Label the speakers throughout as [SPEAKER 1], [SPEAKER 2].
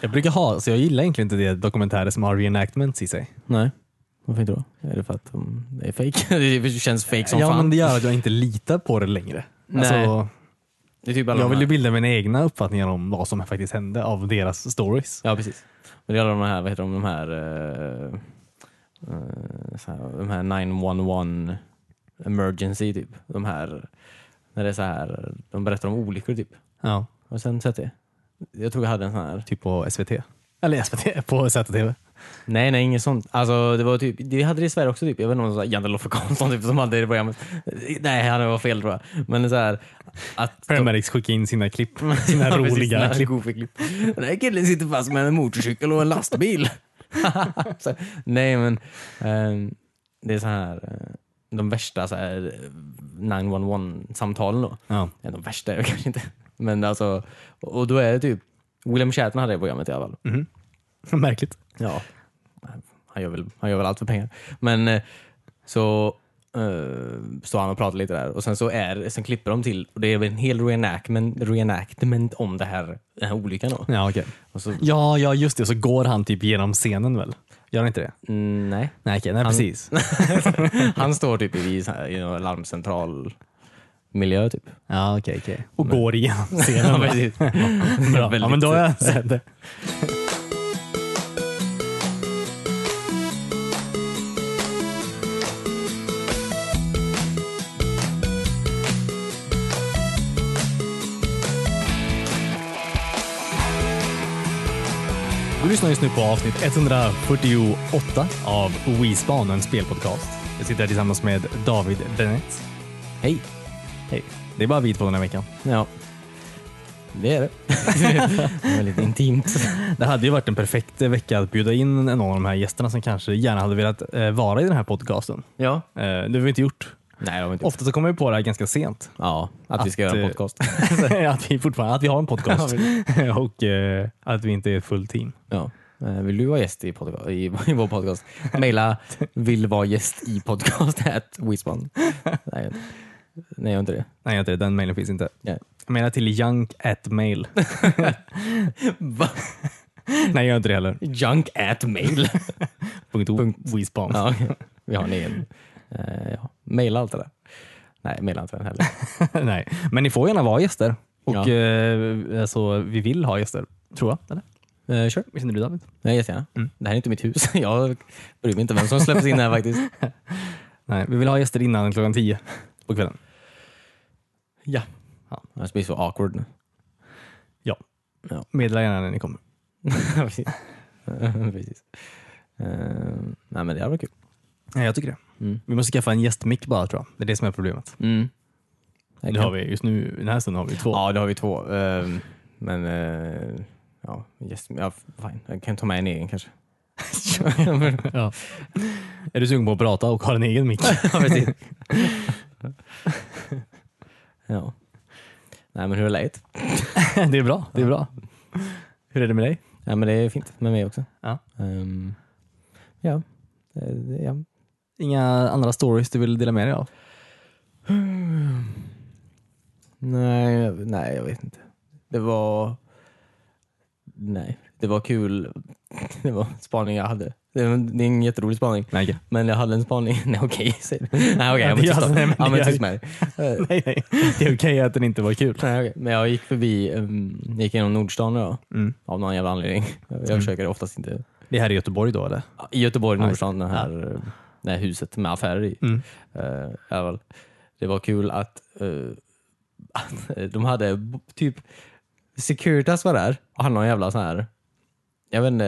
[SPEAKER 1] Jag brukar ha, så jag gillar egentligen inte det dokumentärer som har reenactments i sig.
[SPEAKER 2] Nej. Varför inte då? Är det för att de det är fake? Det känns fake som
[SPEAKER 1] ja
[SPEAKER 2] fan.
[SPEAKER 1] men det gör att jag inte litar på det längre.
[SPEAKER 2] Nej.
[SPEAKER 1] Alltså,
[SPEAKER 2] det är typ alla
[SPEAKER 1] jag
[SPEAKER 2] de
[SPEAKER 1] vill ju
[SPEAKER 2] här-
[SPEAKER 1] bilda mina egna uppfattningar om vad som faktiskt hände av deras stories.
[SPEAKER 2] Ja, precis. Men det är alla de här, vad heter de, de här, eh, eh, så här de här 911 emergency typ. De här, när det är så här, de berättar om olyckor typ.
[SPEAKER 1] Ja.
[SPEAKER 2] Har du sen sett det? Jag tror jag hade en sån här.
[SPEAKER 1] Typ på SVT. Eller SVT, på ZTV.
[SPEAKER 2] Nej, nej, inget sånt. Alltså, det var typ, det hade det i Sverige också. Typ. Jag vet inte om det var Jandelof och Karlsson typ, som hade det i programmet. Nej, han var fel tror jag. Men så här, att
[SPEAKER 1] Paramedics skickar in sina klipp. Sina
[SPEAKER 2] Ja, precis,
[SPEAKER 1] roliga
[SPEAKER 2] sina
[SPEAKER 1] klipp.
[SPEAKER 2] goofy klipp. Den här killen sitter fast med en motorcykel och en lastbil. så, nej men, ehm, det är så här, eh, de värsta så här, eh, 911-samtalen då.
[SPEAKER 1] Ja.
[SPEAKER 2] Ja, de värsta är det kanske inte. Men alltså, och då är det typ, William Shatner hade det programmet i alla fall.
[SPEAKER 1] Märkligt.
[SPEAKER 2] Ja. Han gör väl, han gör väl allt för pengar. Men eh, så eh, står han och pratar lite där och sen så är, sen klipper de till och det är väl en hel reenactment, reenactment om det här, den här olyckan då.
[SPEAKER 1] Ja, okej.
[SPEAKER 2] Och så,
[SPEAKER 1] Ja, ja, just det. Så går han typ genom scenen väl? Gör han inte det?
[SPEAKER 2] mm, nej.
[SPEAKER 1] Nej, okej. Nej, precis.
[SPEAKER 2] Han står typ i, så här, i en larmcentral miljö typ.
[SPEAKER 1] Ja, okej, okej. Och går igenom
[SPEAKER 2] Ja,
[SPEAKER 1] scenen. va?
[SPEAKER 2] precis.
[SPEAKER 1] Bra. Ja, men då har jag sett det. Du lyssnar just nu på avsnitt 148 av Wispan, en spelpodcast. Jag sitter här tillsammans med David Bennett.
[SPEAKER 2] Hej.
[SPEAKER 1] Hej. Det är bara vi två den här veckan.
[SPEAKER 2] Ja. Det är det. det var lite intimt.
[SPEAKER 1] Det hade ju varit en perfekt eh, vecka att bjuda in någon av de här gästerna som kanske gärna hade velat eh, vara i den här podcasten.
[SPEAKER 2] Ja.
[SPEAKER 1] Eh, Det har vi inte gjort.
[SPEAKER 2] Nej, det var inte
[SPEAKER 1] Ofta så kommer vi på det här ganska sent.
[SPEAKER 2] Ja, att, vi ska
[SPEAKER 1] Att,
[SPEAKER 2] göra en
[SPEAKER 1] eh,
[SPEAKER 2] podcast.
[SPEAKER 1] att, vi fortfarande, att vi har en podcast och eh, att vi inte är ett fullt team.
[SPEAKER 2] Ja. Eh, Vill du vara gäst i, podca- i, i vår podcast? Maila vill vara gäst i podcast at Wispan. Nej, nej, jag inte det.
[SPEAKER 1] Nej, inte det. den mejlen finns inte.
[SPEAKER 2] Nej.
[SPEAKER 1] Jag menar till junk at mail. Nej, jag gör inte det heller.
[SPEAKER 2] Junk at mail.
[SPEAKER 1] Punkt o- Wispan.
[SPEAKER 2] ja, okej. Vi har en egen. Eh, ja. Maila allt det där. Nej, maila inte den heller.
[SPEAKER 1] Nej. Men ni får gärna vara gäster. Och
[SPEAKER 2] Ja.
[SPEAKER 1] eh, alltså, vi vill ha gäster, tror jag. Eller?
[SPEAKER 2] Eh, kör.
[SPEAKER 1] Visst inte du David?
[SPEAKER 2] Nej, jättegärna. Det här är inte mitt hus. Jag bryr mig inte vem som släpps in här faktiskt.
[SPEAKER 1] Nej, vi vill ha gäster innan klockan tio på kvällen.
[SPEAKER 2] Ja. ja. Det blir så awkward nu.
[SPEAKER 1] Ja.
[SPEAKER 2] Ja.
[SPEAKER 1] Meddela gärna när ni kommer.
[SPEAKER 2] Precis. Precis. Eh, nej, men det hade varit kul.
[SPEAKER 1] Ja, jag tycker det. Vi måste skaffa en gästmick bara tror jag. Det är det som är problemet.
[SPEAKER 2] Mm.
[SPEAKER 1] Det har vi just nu, i den här stunden har vi två.
[SPEAKER 2] Ja, det har vi två. Ehm, men eh, ja, yes, ja, fine. Jag kan ta med en egen kanske.
[SPEAKER 1] Ja. Är du sugen på att prata och har en egen mick?
[SPEAKER 2] ja, precis. ja. Nej, men hur är läget?
[SPEAKER 1] det är bra. Det är bra. Hur är det med dig?
[SPEAKER 2] Ja, men det är fint med mig också.
[SPEAKER 1] Ja.
[SPEAKER 2] Ehm, ja. Eh, ja.
[SPEAKER 1] Inga andra stories du vill dela med dig av?
[SPEAKER 2] Nej, jag- nej, jag vet inte. Det var... Nej, det var kul. Det var spaning jag hade. Det var- det är en jätterolig spaning.
[SPEAKER 1] Nej, okej.
[SPEAKER 2] Men jag hade en spaning. Nej okej, säger du. Nej okej,
[SPEAKER 1] Ja,
[SPEAKER 2] ja,
[SPEAKER 1] det
[SPEAKER 2] men
[SPEAKER 1] gör-
[SPEAKER 2] tyst då.
[SPEAKER 1] nej, men
[SPEAKER 2] Ja
[SPEAKER 1] det
[SPEAKER 2] men
[SPEAKER 1] gör-
[SPEAKER 2] tyst med dig. Eh,
[SPEAKER 1] nej, nej. Det är okej att den inte var kul.
[SPEAKER 2] nej, okej. Men jag gick förbi, um, gick genom Nordstan idag.
[SPEAKER 1] Mm.
[SPEAKER 2] Av någon jävla anledning. Jag försöker oftast inte.
[SPEAKER 1] Det här är Göteborg då eller?
[SPEAKER 2] I Göteborg, Nordstan, det här, eh, det här huset med affärer i. Eh, ja, väl. det var kul att, eh, att eh, de hade b- typ Securitas var där och hade någon jävla sån här jag vet, inte,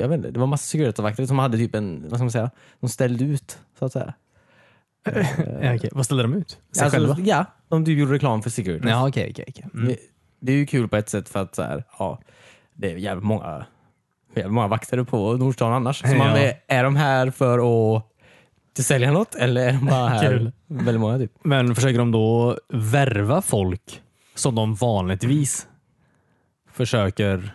[SPEAKER 2] jag vet inte, det var massa Securitasvakter som hade typ en, vad ska man säga, de ställde ut så att säga. Eh,
[SPEAKER 1] Ja, okej. Vad ställde de ut? Sig
[SPEAKER 2] Alltså,
[SPEAKER 1] själva?
[SPEAKER 2] Ja, om du gjorde reklam för Securitas.
[SPEAKER 1] Ja, okej. okej, okej. Mm.
[SPEAKER 2] Det, det är ju kul på ett sätt för att så här, ja, det är jävligt många, jävligt många vakter på Nordstan annars. Så man
[SPEAKER 1] Ja.
[SPEAKER 2] är, är de här för att sälja något eller är de bara här?
[SPEAKER 1] Kul.
[SPEAKER 2] Väldigt många typ.
[SPEAKER 1] Men försöker de då värva folk som de vanligtvis försöker...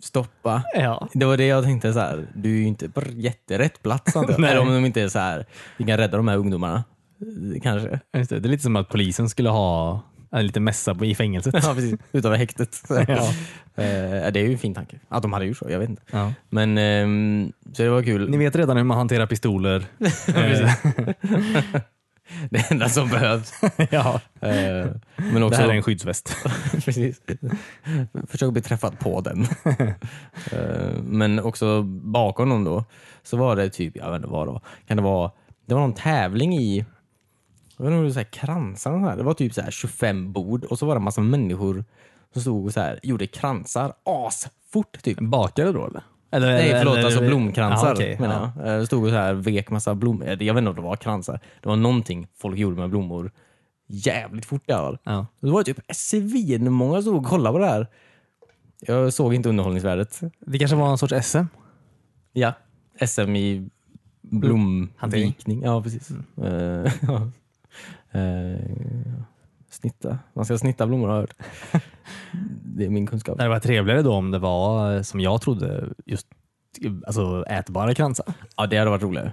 [SPEAKER 2] Stoppa.
[SPEAKER 1] Ja.
[SPEAKER 2] Det var det jag tänkte så här. du är ju inte på jätterätt plats antar jag.
[SPEAKER 1] Nej.
[SPEAKER 2] Eller om de inte är så här. vi kan rädda de här ungdomarna. Kanske.
[SPEAKER 1] Just det, det är lite som att polisen skulle ha En liten mässa på, i fängelset.
[SPEAKER 2] Ja, precis. Utanför häktet.
[SPEAKER 1] Ja.
[SPEAKER 2] Eh, det är ju en fin tanke. Att de hade gjort så, jag vet inte.
[SPEAKER 1] Ja.
[SPEAKER 2] Men, ehm, så det var kul.
[SPEAKER 1] Ni vet redan hur man hanterar pistoler.
[SPEAKER 2] Precis. det enda som behövs.
[SPEAKER 1] Eh, ja.
[SPEAKER 2] Eh, men
[SPEAKER 1] Det
[SPEAKER 2] också,
[SPEAKER 1] här är en skyddsväst.
[SPEAKER 2] precis. Försök att bli träffad på den. Eh, men också bakom dem då, så var det typ, jag vet inte vad det var. Kan det vara, det var någon tävling i, jag vet inte om det var så här kransar och så här. Det var typ så här 25 bord och så var det en massa människor som stod och så här, gjorde kransar asfort typ.
[SPEAKER 1] Bakare då eller? eller
[SPEAKER 2] Nej förlåt,
[SPEAKER 1] eller-
[SPEAKER 2] alltså blomkransar
[SPEAKER 1] Ja, okej,
[SPEAKER 2] menar
[SPEAKER 1] ja.
[SPEAKER 2] jag. Eh, Stod och så här vek massa blommor. Eh, Jag vet inte om det var kransar. Det var någonting folk gjorde med blommor jävligt fort i alla fall.
[SPEAKER 1] Ja.
[SPEAKER 2] Det var typ svinmånga som stod och kollade på det här. Jag såg inte underhållningsvärdet.
[SPEAKER 1] Det kanske var en sorts SM?
[SPEAKER 2] Ja. Mm. SM i
[SPEAKER 1] Hantering.
[SPEAKER 2] blomvikning. Ja, precis. Eh, ja. Eh, snitta. Man ska snitta blommor har jag hört. Det är min kunskap.
[SPEAKER 1] Det hade varit trevligare då om det var, eh, som jag trodde, just alltså, ätbara kransar.
[SPEAKER 2] Ja, det hade varit roligare.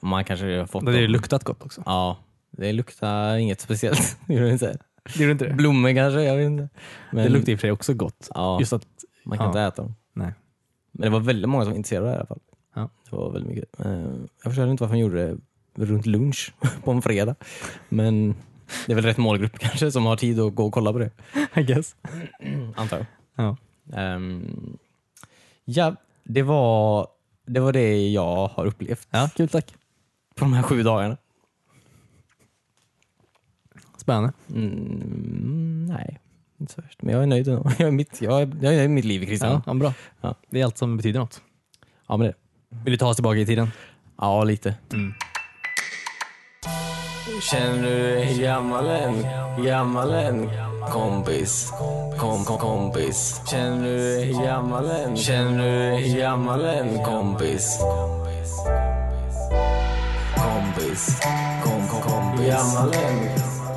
[SPEAKER 2] Man kanske har fått
[SPEAKER 1] Det hade ju
[SPEAKER 2] dem.
[SPEAKER 1] luktat gott också.
[SPEAKER 2] Ja, det luktar inget speciellt. Gjorde det inte?
[SPEAKER 1] Gjorde inte det?
[SPEAKER 2] Blommor kanske, jag vet inte. Men,
[SPEAKER 1] Det luktar i och för sig också gott.
[SPEAKER 2] ja,
[SPEAKER 1] Just att,
[SPEAKER 2] man kan
[SPEAKER 1] ja.
[SPEAKER 2] inte äta dem.
[SPEAKER 1] nej.
[SPEAKER 2] Men det var väldigt många som var intresserade av det i alla fall.
[SPEAKER 1] Ja.
[SPEAKER 2] Det var väldigt mycket. Eh, Jag förstår inte varför han gjorde det runt lunch på en fredag. Men det är väl rätt målgrupp kanske som har tid att gå och kolla på det.
[SPEAKER 1] I guess. Mm,
[SPEAKER 2] Antar jag.
[SPEAKER 1] Ja.
[SPEAKER 2] Ehm, ja, det var, det var det jag har upplevt
[SPEAKER 1] ja, kul tack.
[SPEAKER 2] på de här sju dagarna.
[SPEAKER 1] Spännande.
[SPEAKER 2] Mm, nej, inte så värst. Men jag är nöjd ändå. Jag är, mitt, jag är, jag är nöjd med mitt liv Christian.
[SPEAKER 1] Ja, ja, bra.
[SPEAKER 2] Ja.
[SPEAKER 1] Det är allt som betyder något.
[SPEAKER 2] Ja, men det.
[SPEAKER 1] Vill du ta oss tillbaka i tiden?
[SPEAKER 2] Ja, lite.
[SPEAKER 3] Känner du dig gammal än? Gammal än? Kompis, kom, kom, kompis. Känner du dig gammal än? Känner du dig gammal än? Kompis. Kompis, kom, kom, kompis. Gammal än?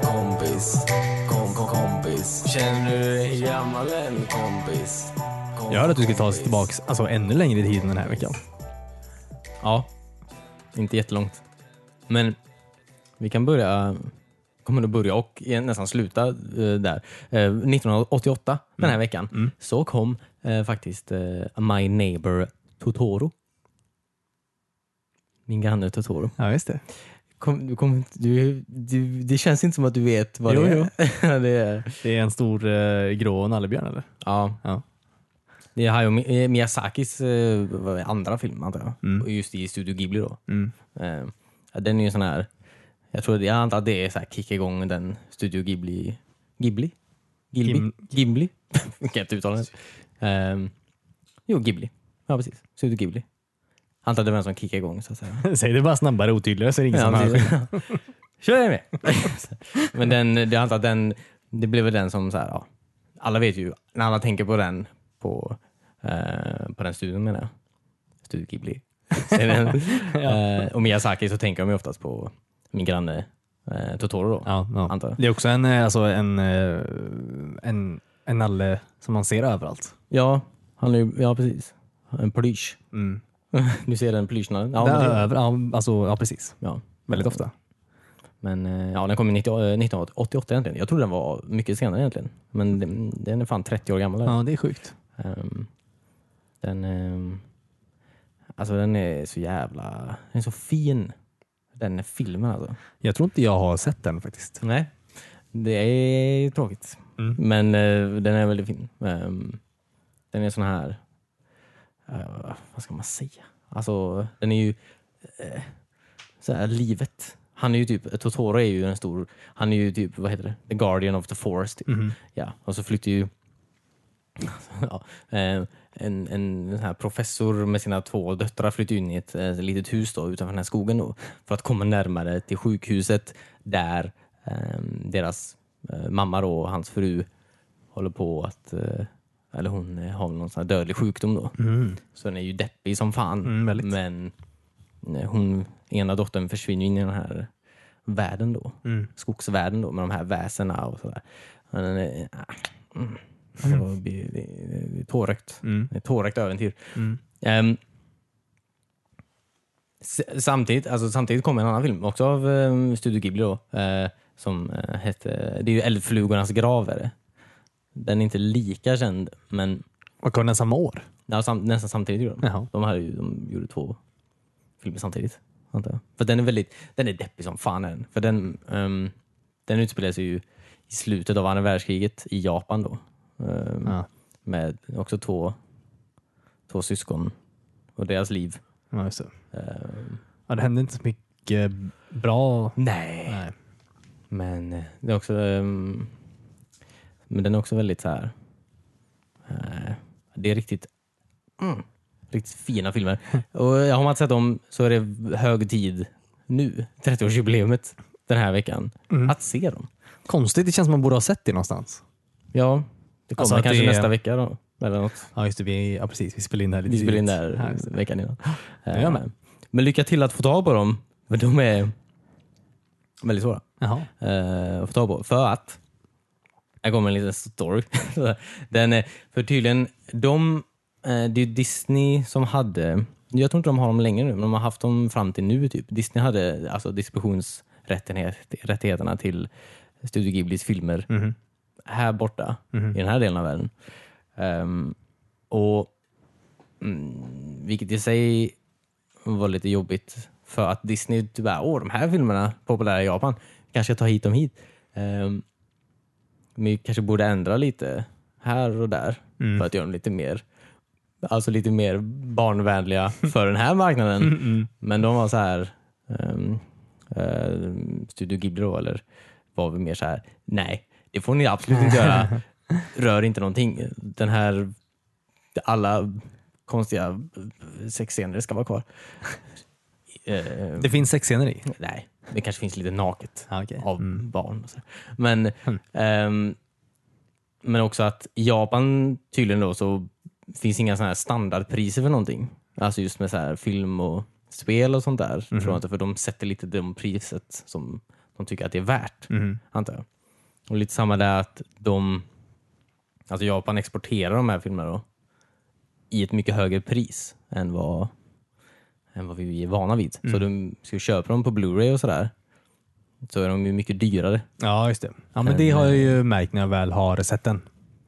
[SPEAKER 3] Kompis, kom, kom, kompis. Känner du dig gammal än? Kompis. kom,
[SPEAKER 1] Jag hörde att du skulle ta oss
[SPEAKER 3] kompis.
[SPEAKER 1] tillbaka alltså, ännu längre i tiden den här veckan.
[SPEAKER 2] Ja, inte jättelångt. Men vi kan börja, kommer att börja och nästan sluta eh, där. Eh, 1988, den
[SPEAKER 1] Mm.
[SPEAKER 2] här veckan, så kom eh, faktiskt eh, My Neighbor Totoro. Min granne Totoro.
[SPEAKER 1] Ja, just det.
[SPEAKER 2] Kom, du, kom, du, du, det känns inte som att du vet vad
[SPEAKER 1] Jo,
[SPEAKER 2] det är. det är
[SPEAKER 1] Det är en stor eh, grå nallebjörn eller?
[SPEAKER 2] ja.
[SPEAKER 1] Ja.
[SPEAKER 2] Det är Hayao Mi- eh, Miyazakis eh, vad är det, andra film antar jag.
[SPEAKER 1] Mm.
[SPEAKER 2] Just i Studio Ghibli då.
[SPEAKER 1] Mm.
[SPEAKER 2] Eh, ja, den är ju sån här, jag, tror, jag antar att det är så här kicka igång den Studio Ghibli, Ghibli? Ghibli?
[SPEAKER 1] Gim-
[SPEAKER 2] Ghibli? jag kan inte uttala det. Eh, jo, Ghibli. Ja precis, Studio Ghibli. Jag Antar att det var den som kickade igång så att säga.
[SPEAKER 1] Säg det bara snabbare och otydligare så är det ingen som
[SPEAKER 2] Ja,
[SPEAKER 1] hör.
[SPEAKER 2] precis. Kör jag med! Men den, jag antar att den, det blev väl den som så här, ja, alla vet ju, när alla tänker på den, på, eh, på den studion menar jag, Studio Ghibli. Sen, eh, och Miyazaki så tänker de ju oftast på min granne eh, Totoro då.
[SPEAKER 1] Ja,
[SPEAKER 2] Antar
[SPEAKER 1] ja.
[SPEAKER 2] jag.
[SPEAKER 1] Det är också en, eh, alltså, en, eh, en, en nalle som man ser överallt.
[SPEAKER 2] Ja, han är ju, ja precis. En plysch.
[SPEAKER 1] Mm.
[SPEAKER 2] Du ser den plyschnallen? Ja,
[SPEAKER 1] Ja,
[SPEAKER 2] men det-
[SPEAKER 1] över, ja, alltså, ja, precis.
[SPEAKER 2] ja.
[SPEAKER 1] Väldigt ofta.
[SPEAKER 2] Men eh, ja, den kom ju 90 eh, 1988 egentligen. Jag trodde den var mycket senare egentligen. Men den, den är fan 30 år gammal.
[SPEAKER 1] Ja, det är sjukt.
[SPEAKER 2] Ehm, den, ehm, alltså den är så jävla, den är så fin. Den filmen alltså.
[SPEAKER 1] Jag tror inte jag har sett den faktiskt.
[SPEAKER 2] Nej. Det är tråkigt.
[SPEAKER 1] Mm.
[SPEAKER 2] Men eh, den är väldigt fin. Ehm, den är sån här, eh, vad ska man säga? Alltså den är ju eh, så här livet. Han är ju typ, Totoro är ju en stor, han är ju typ, vad heter det? The Guardian of the Forest. Typ. Ja, och så flyttar ju ja, eh, en, en sån här professor med sina två döttrar flyttar in i ett eh, litet hus då, utanför den här skogen då, för att komma närmare till sjukhuset där eh, deras eh, mamma då och hans fru håller på att, eh, eller hon eh, har någon sån här dödlig sjukdom då. Så den är ju deppig som fan.
[SPEAKER 1] Mm, väldigt.
[SPEAKER 2] men eh, hon, ena dottern försvinner in i den här världen då,
[SPEAKER 1] Mm.
[SPEAKER 2] skogsvärlden då med de här väsena och sådär. Men den är, ah, mm. Alltså, det, det, det är tårögt.
[SPEAKER 1] Mm.
[SPEAKER 2] Det är ett tårögt äventyr.
[SPEAKER 1] Mm.
[SPEAKER 2] Ehm, s- samtidigt, alltså, samtidigt kom en annan film också av um, Studio ehm, Ghibli då. Eh, Som eh, hette, det är ju Eldflugornas grav är det. Den är inte lika känd, men
[SPEAKER 1] Och kom den samma år?
[SPEAKER 2] ja, sam, nästan samtidigt gjorde de.
[SPEAKER 1] Jaha.
[SPEAKER 2] De, här, är ju- de gjorde två filmer samtidigt. Antar jag. För den är väldigt, den är deppig som fan är den. För den, um, den utspelar sig ju i slutet av andra världskriget i Japan då. Ehm,
[SPEAKER 1] Ja.
[SPEAKER 2] Med också två, två syskon och deras liv.
[SPEAKER 1] Ja, just det.
[SPEAKER 2] Ehm,
[SPEAKER 1] Ja, det hände inte så mycket bra.
[SPEAKER 2] nej.
[SPEAKER 1] Nej.
[SPEAKER 2] Men eh, det är också... ehm, men den är också väldigt så här... eh, det är riktigt... Mm, riktigt fina filmer. Och eh, har man inte sett dem så är det hög tid nu, 30-årsjubileumet den här veckan,
[SPEAKER 1] Mm.
[SPEAKER 2] att se dem.
[SPEAKER 1] Konstigt, det känns som man borde ha sett det någonstans.
[SPEAKER 2] Ja, det kommer
[SPEAKER 1] Alltså att
[SPEAKER 2] kanske
[SPEAKER 1] det är-
[SPEAKER 2] nästa vecka då. Eller något.
[SPEAKER 1] Ja, just det. Vi, ja, precis. Vi spelar in det här lite
[SPEAKER 2] Vi spelar in
[SPEAKER 1] tidigt.
[SPEAKER 2] där
[SPEAKER 1] Ja, just det.
[SPEAKER 2] veckan innan. Eh,
[SPEAKER 1] Det gör man.
[SPEAKER 2] Men lycka till att få tag på dem. För de är väldigt svåra.
[SPEAKER 1] Jaha.
[SPEAKER 2] eh, att få tag på. För att, här kommer en liten story. Den, eh, för tydligen, de, eh, det är ju Disney som hade, jag tror inte de har dem längre nu, men de har haft dem fram till nu. typ. Disney hade alltså distributionsrättigheterna till Studio Ghiblis filmer
[SPEAKER 1] Mhm.
[SPEAKER 2] här borta, i den här delen av världen. Ehm, och mm, Vilket i sig var lite jobbigt för att Disney tyvärr, åh de här filmerna, populära i Japan, kanske ta hit dem hit. Ehm, men vi kanske borde ändra lite här och där för att göra dem lite mer alltså lite mer barnvänliga för den här marknaden. Men de var så här, ehm, ehm, Studio Ghibli då, eller var vi mer så här, nej, det får ni absolut inte göra. Rör inte någonting. Den här, alla konstiga sexscener ska vara kvar. Eh,
[SPEAKER 1] Det finns sexscener i?
[SPEAKER 2] nej, det kanske finns lite naket
[SPEAKER 1] Ja, okej.
[SPEAKER 2] av barn. Och så. Men, ehm, men också att i Japan tydligen då så finns inga såna här standardpriser för någonting. Alltså just med så här film och spel och sånt där. Tror jag inte, för de sätter lite det priset som de tycker att det är värt, antar jag. Och lite samma där att de, alltså Japan exporterar de här filmerna då i ett mycket högre pris än vad, än vad vi är vana vid. Så de ska köpa dem på Blu-ray och sådär så är de ju mycket dyrare.
[SPEAKER 1] Ja, just det. Ja, men det har jag
[SPEAKER 2] eh,
[SPEAKER 1] ju märkt när jag väl har sett den.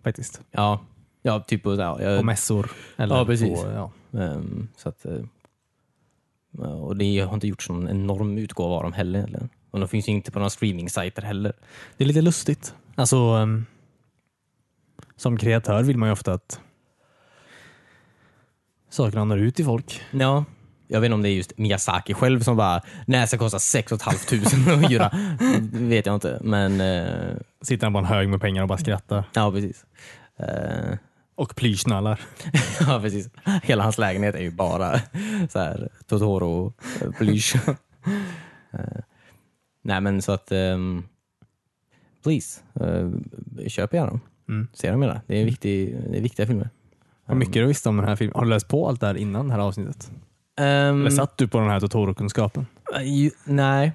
[SPEAKER 1] Faktiskt.
[SPEAKER 2] Ja, ja typ på, ja,
[SPEAKER 1] På
[SPEAKER 2] jag,
[SPEAKER 1] mässor. Eller
[SPEAKER 2] Ja, precis.
[SPEAKER 1] På, ja.
[SPEAKER 2] ehm, så att, eh, ja, och det har inte gjorts någon enorm utgåva av dem heller. egentligen. Och de finns ju inte på några streamingsajter heller.
[SPEAKER 1] Det är lite lustigt. Alltså, ehm, som kreatör vill man ju ofta att sakerna når ut till folk.
[SPEAKER 2] Ja, jag vet inte om det är just Miyazaki själv som bara, nej, det ska kosta 6 500 att hyra. Det vet jag inte, men eh,
[SPEAKER 1] Sitter han på en hög med pengar och bara skrattar.
[SPEAKER 2] ja, precis. Eh,
[SPEAKER 1] Och plyschnallar.
[SPEAKER 2] ja, precis. Hela hans lägenhet är ju bara så här, Totoro eh, plysch. Eh, Nej men så att ehm, please, eh, köp gärna dem.
[SPEAKER 1] Mm.
[SPEAKER 2] Se dem gärna. Det är, en viktig, det är viktiga filmer.
[SPEAKER 1] Vad mycket du visste om den här filmen. Har du läst på allt det här innan det här avsnittet?
[SPEAKER 2] Ehm,
[SPEAKER 1] Eller satt du på den här Totoro-kunskapen?
[SPEAKER 2] eh, ju, nej.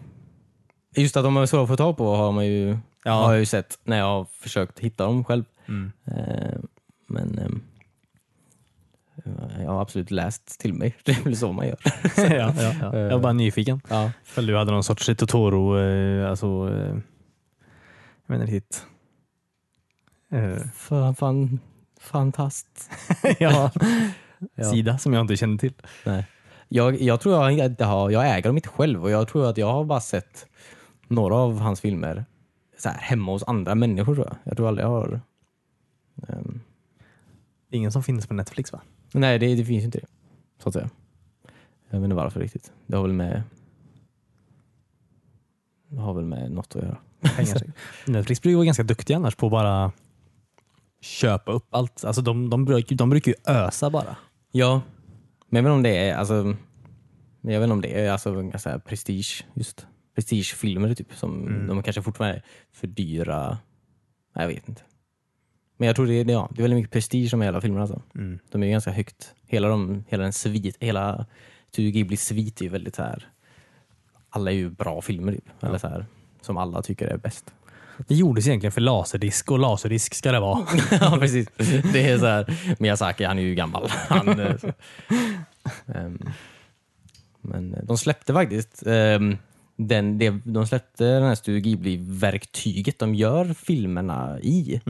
[SPEAKER 2] Just att de är svåra att få tag på har, man ju, har jag ju sett när jag har försökt hitta dem själv.
[SPEAKER 1] Mm.
[SPEAKER 2] Eh, men ehm, jag har absolut läst till mig. Det är väl så man gör.
[SPEAKER 1] ja, ja, ja. Jag var bara nyfiken.
[SPEAKER 2] Ja.
[SPEAKER 1] Ifall du hade någon sorts Totoro, eh, alltså, eh, jag menar hit. Eh,
[SPEAKER 2] Fan, fan, fantast.
[SPEAKER 1] ja,
[SPEAKER 2] Ja.
[SPEAKER 1] sida som jag inte kände till.
[SPEAKER 2] Nej. Jag, jag tror jag inte har, jag äger dem inte själv och jag tror att jag har bara sett några av hans filmer så här, hemma hos andra människor tror jag. Jag tror aldrig jag har... ehm,
[SPEAKER 1] Ingen som finns på Netflix va?
[SPEAKER 2] nej, det, det finns ju inte det. Så att säga. Jag vet inte varför riktigt. Det har väl med... Det har väl med något att göra.
[SPEAKER 1] Pengar. säkert. Netflix brukar vara ganska duktiga annars på att bara köpa upp allt. Alltså de, de, brukar, de brukar ju ösa bara.
[SPEAKER 2] Ja, men jag vet inte om det är, alltså, men jag vet inte om det är alltså, en ganska prestige, just prestigefilmer typ, som de kanske fortfarande är för dyra. Nej, jag vet inte. Men jag tror det är, ja, det är väldigt mycket prestige som hela filmerna. Alltså.
[SPEAKER 1] Mm.
[SPEAKER 2] De är ju ganska högt. Hela, de, hela den svit, hela Studio Ghibli svit är ju väldigt så här. Alla är ju bra filmer typ. Eller så här, som alla tycker är bäst.
[SPEAKER 1] Det gjordes egentligen för laserdisk och laserdisk ska det vara.
[SPEAKER 2] ja, precis. Det är så här, Miyazaki, han är ju gammal. Han, eh, så. Ehm, men de släppte faktiskt ehm, den, det, de släppte den här Studio Ghibli-verktyget de gör filmerna i.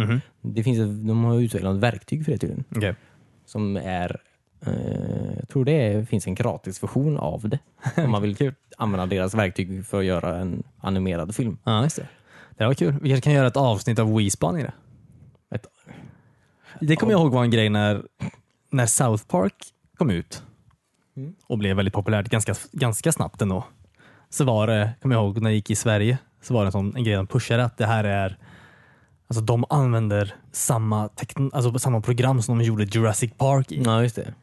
[SPEAKER 2] Det finns, ett- de har utvecklat ett verktyg för det tydligen.
[SPEAKER 1] Okej.
[SPEAKER 2] Som är, eh, jag tror det är, finns en gratisversion av det. Om man vill typ använda deras verktyg för att göra en animerad film.
[SPEAKER 1] Ja, just det. Det här var kul. Vi kanske kan göra ett avsnitt av Wiespan i det.
[SPEAKER 2] Ett,
[SPEAKER 1] Det kommer jag ihåg var en grej när, när South Park kom ut
[SPEAKER 2] Mm.
[SPEAKER 1] och blev väldigt populärt ganska, ganska snabbt ändå. Så var det, kommer jag ihåg när jag gick i Sverige, så var det en, sån, en grej de pushade att det här är Alltså de använder samma, tekn- alltså samma program som de gjorde Jurassic Park i.
[SPEAKER 2] ja, just det.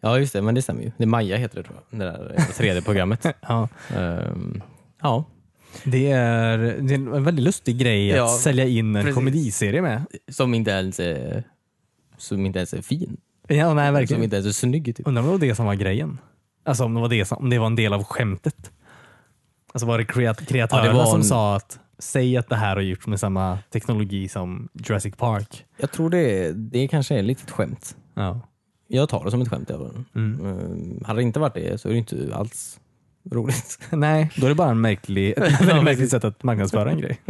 [SPEAKER 2] Ja, just det. Men det stämmer ju. Det är Maja heter det tror jag. Det där 3D-programmet.
[SPEAKER 1] Ja,
[SPEAKER 2] Ehm, ja,
[SPEAKER 1] det, är, det är en väldigt lustig grej att
[SPEAKER 2] Ja,
[SPEAKER 1] sälja in en
[SPEAKER 2] precis.
[SPEAKER 1] komediserie med.
[SPEAKER 2] som inte ens är, som inte ens är fin.
[SPEAKER 1] Ja, nej,
[SPEAKER 2] Som
[SPEAKER 1] verkligen.
[SPEAKER 2] inte ens är snygg. Typ.
[SPEAKER 1] Undrar om det var det som var grejen? Alltså om det var det, som, om det var en del av skämtet? Alltså var det kreat- kreatörerna
[SPEAKER 2] Ja, det var
[SPEAKER 1] som
[SPEAKER 2] en-
[SPEAKER 1] sa att säg att det här har gjorts med samma teknologi som Jurassic Park?
[SPEAKER 2] Jag tror det, det kanske är ett litet skämt.
[SPEAKER 1] Ja.
[SPEAKER 2] Jag tar det som ett skämt. Även.
[SPEAKER 1] Mm.
[SPEAKER 2] Ehm, hade det inte varit det så är det inte alls roligt.
[SPEAKER 1] Nej, då är det bara en märklig, ett väldigt märkligt sätt att marknadsföra en grej.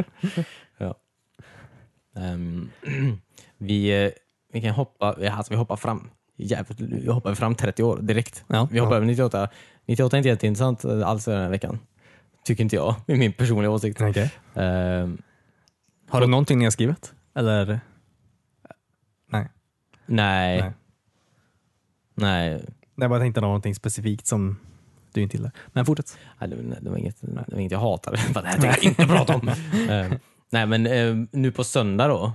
[SPEAKER 2] Ehm, vi, eh, vi kan hoppa, ja, alltså vi hoppar fram. Jävligt, vi hoppar fram 30 år direkt.
[SPEAKER 1] Ja.
[SPEAKER 2] Vi hoppar över 98. 98 är inte jätteintressant eh, alls den här veckan. Tycker inte jag, i min personliga åsikt.
[SPEAKER 1] Okej.
[SPEAKER 2] Ehm,
[SPEAKER 1] Har du någonting nedskrivet? Eller?
[SPEAKER 2] nej.
[SPEAKER 1] Nej.
[SPEAKER 2] nej. Nej,
[SPEAKER 1] Nej, jag bara tänkte någonting specifikt som du inte gillar. Men fortsätt.
[SPEAKER 2] det, var- det, var inget, det var inget jag hatade. Det här tänker jag inte prata om. Ehm, nej, men ehm, nu på söndag då,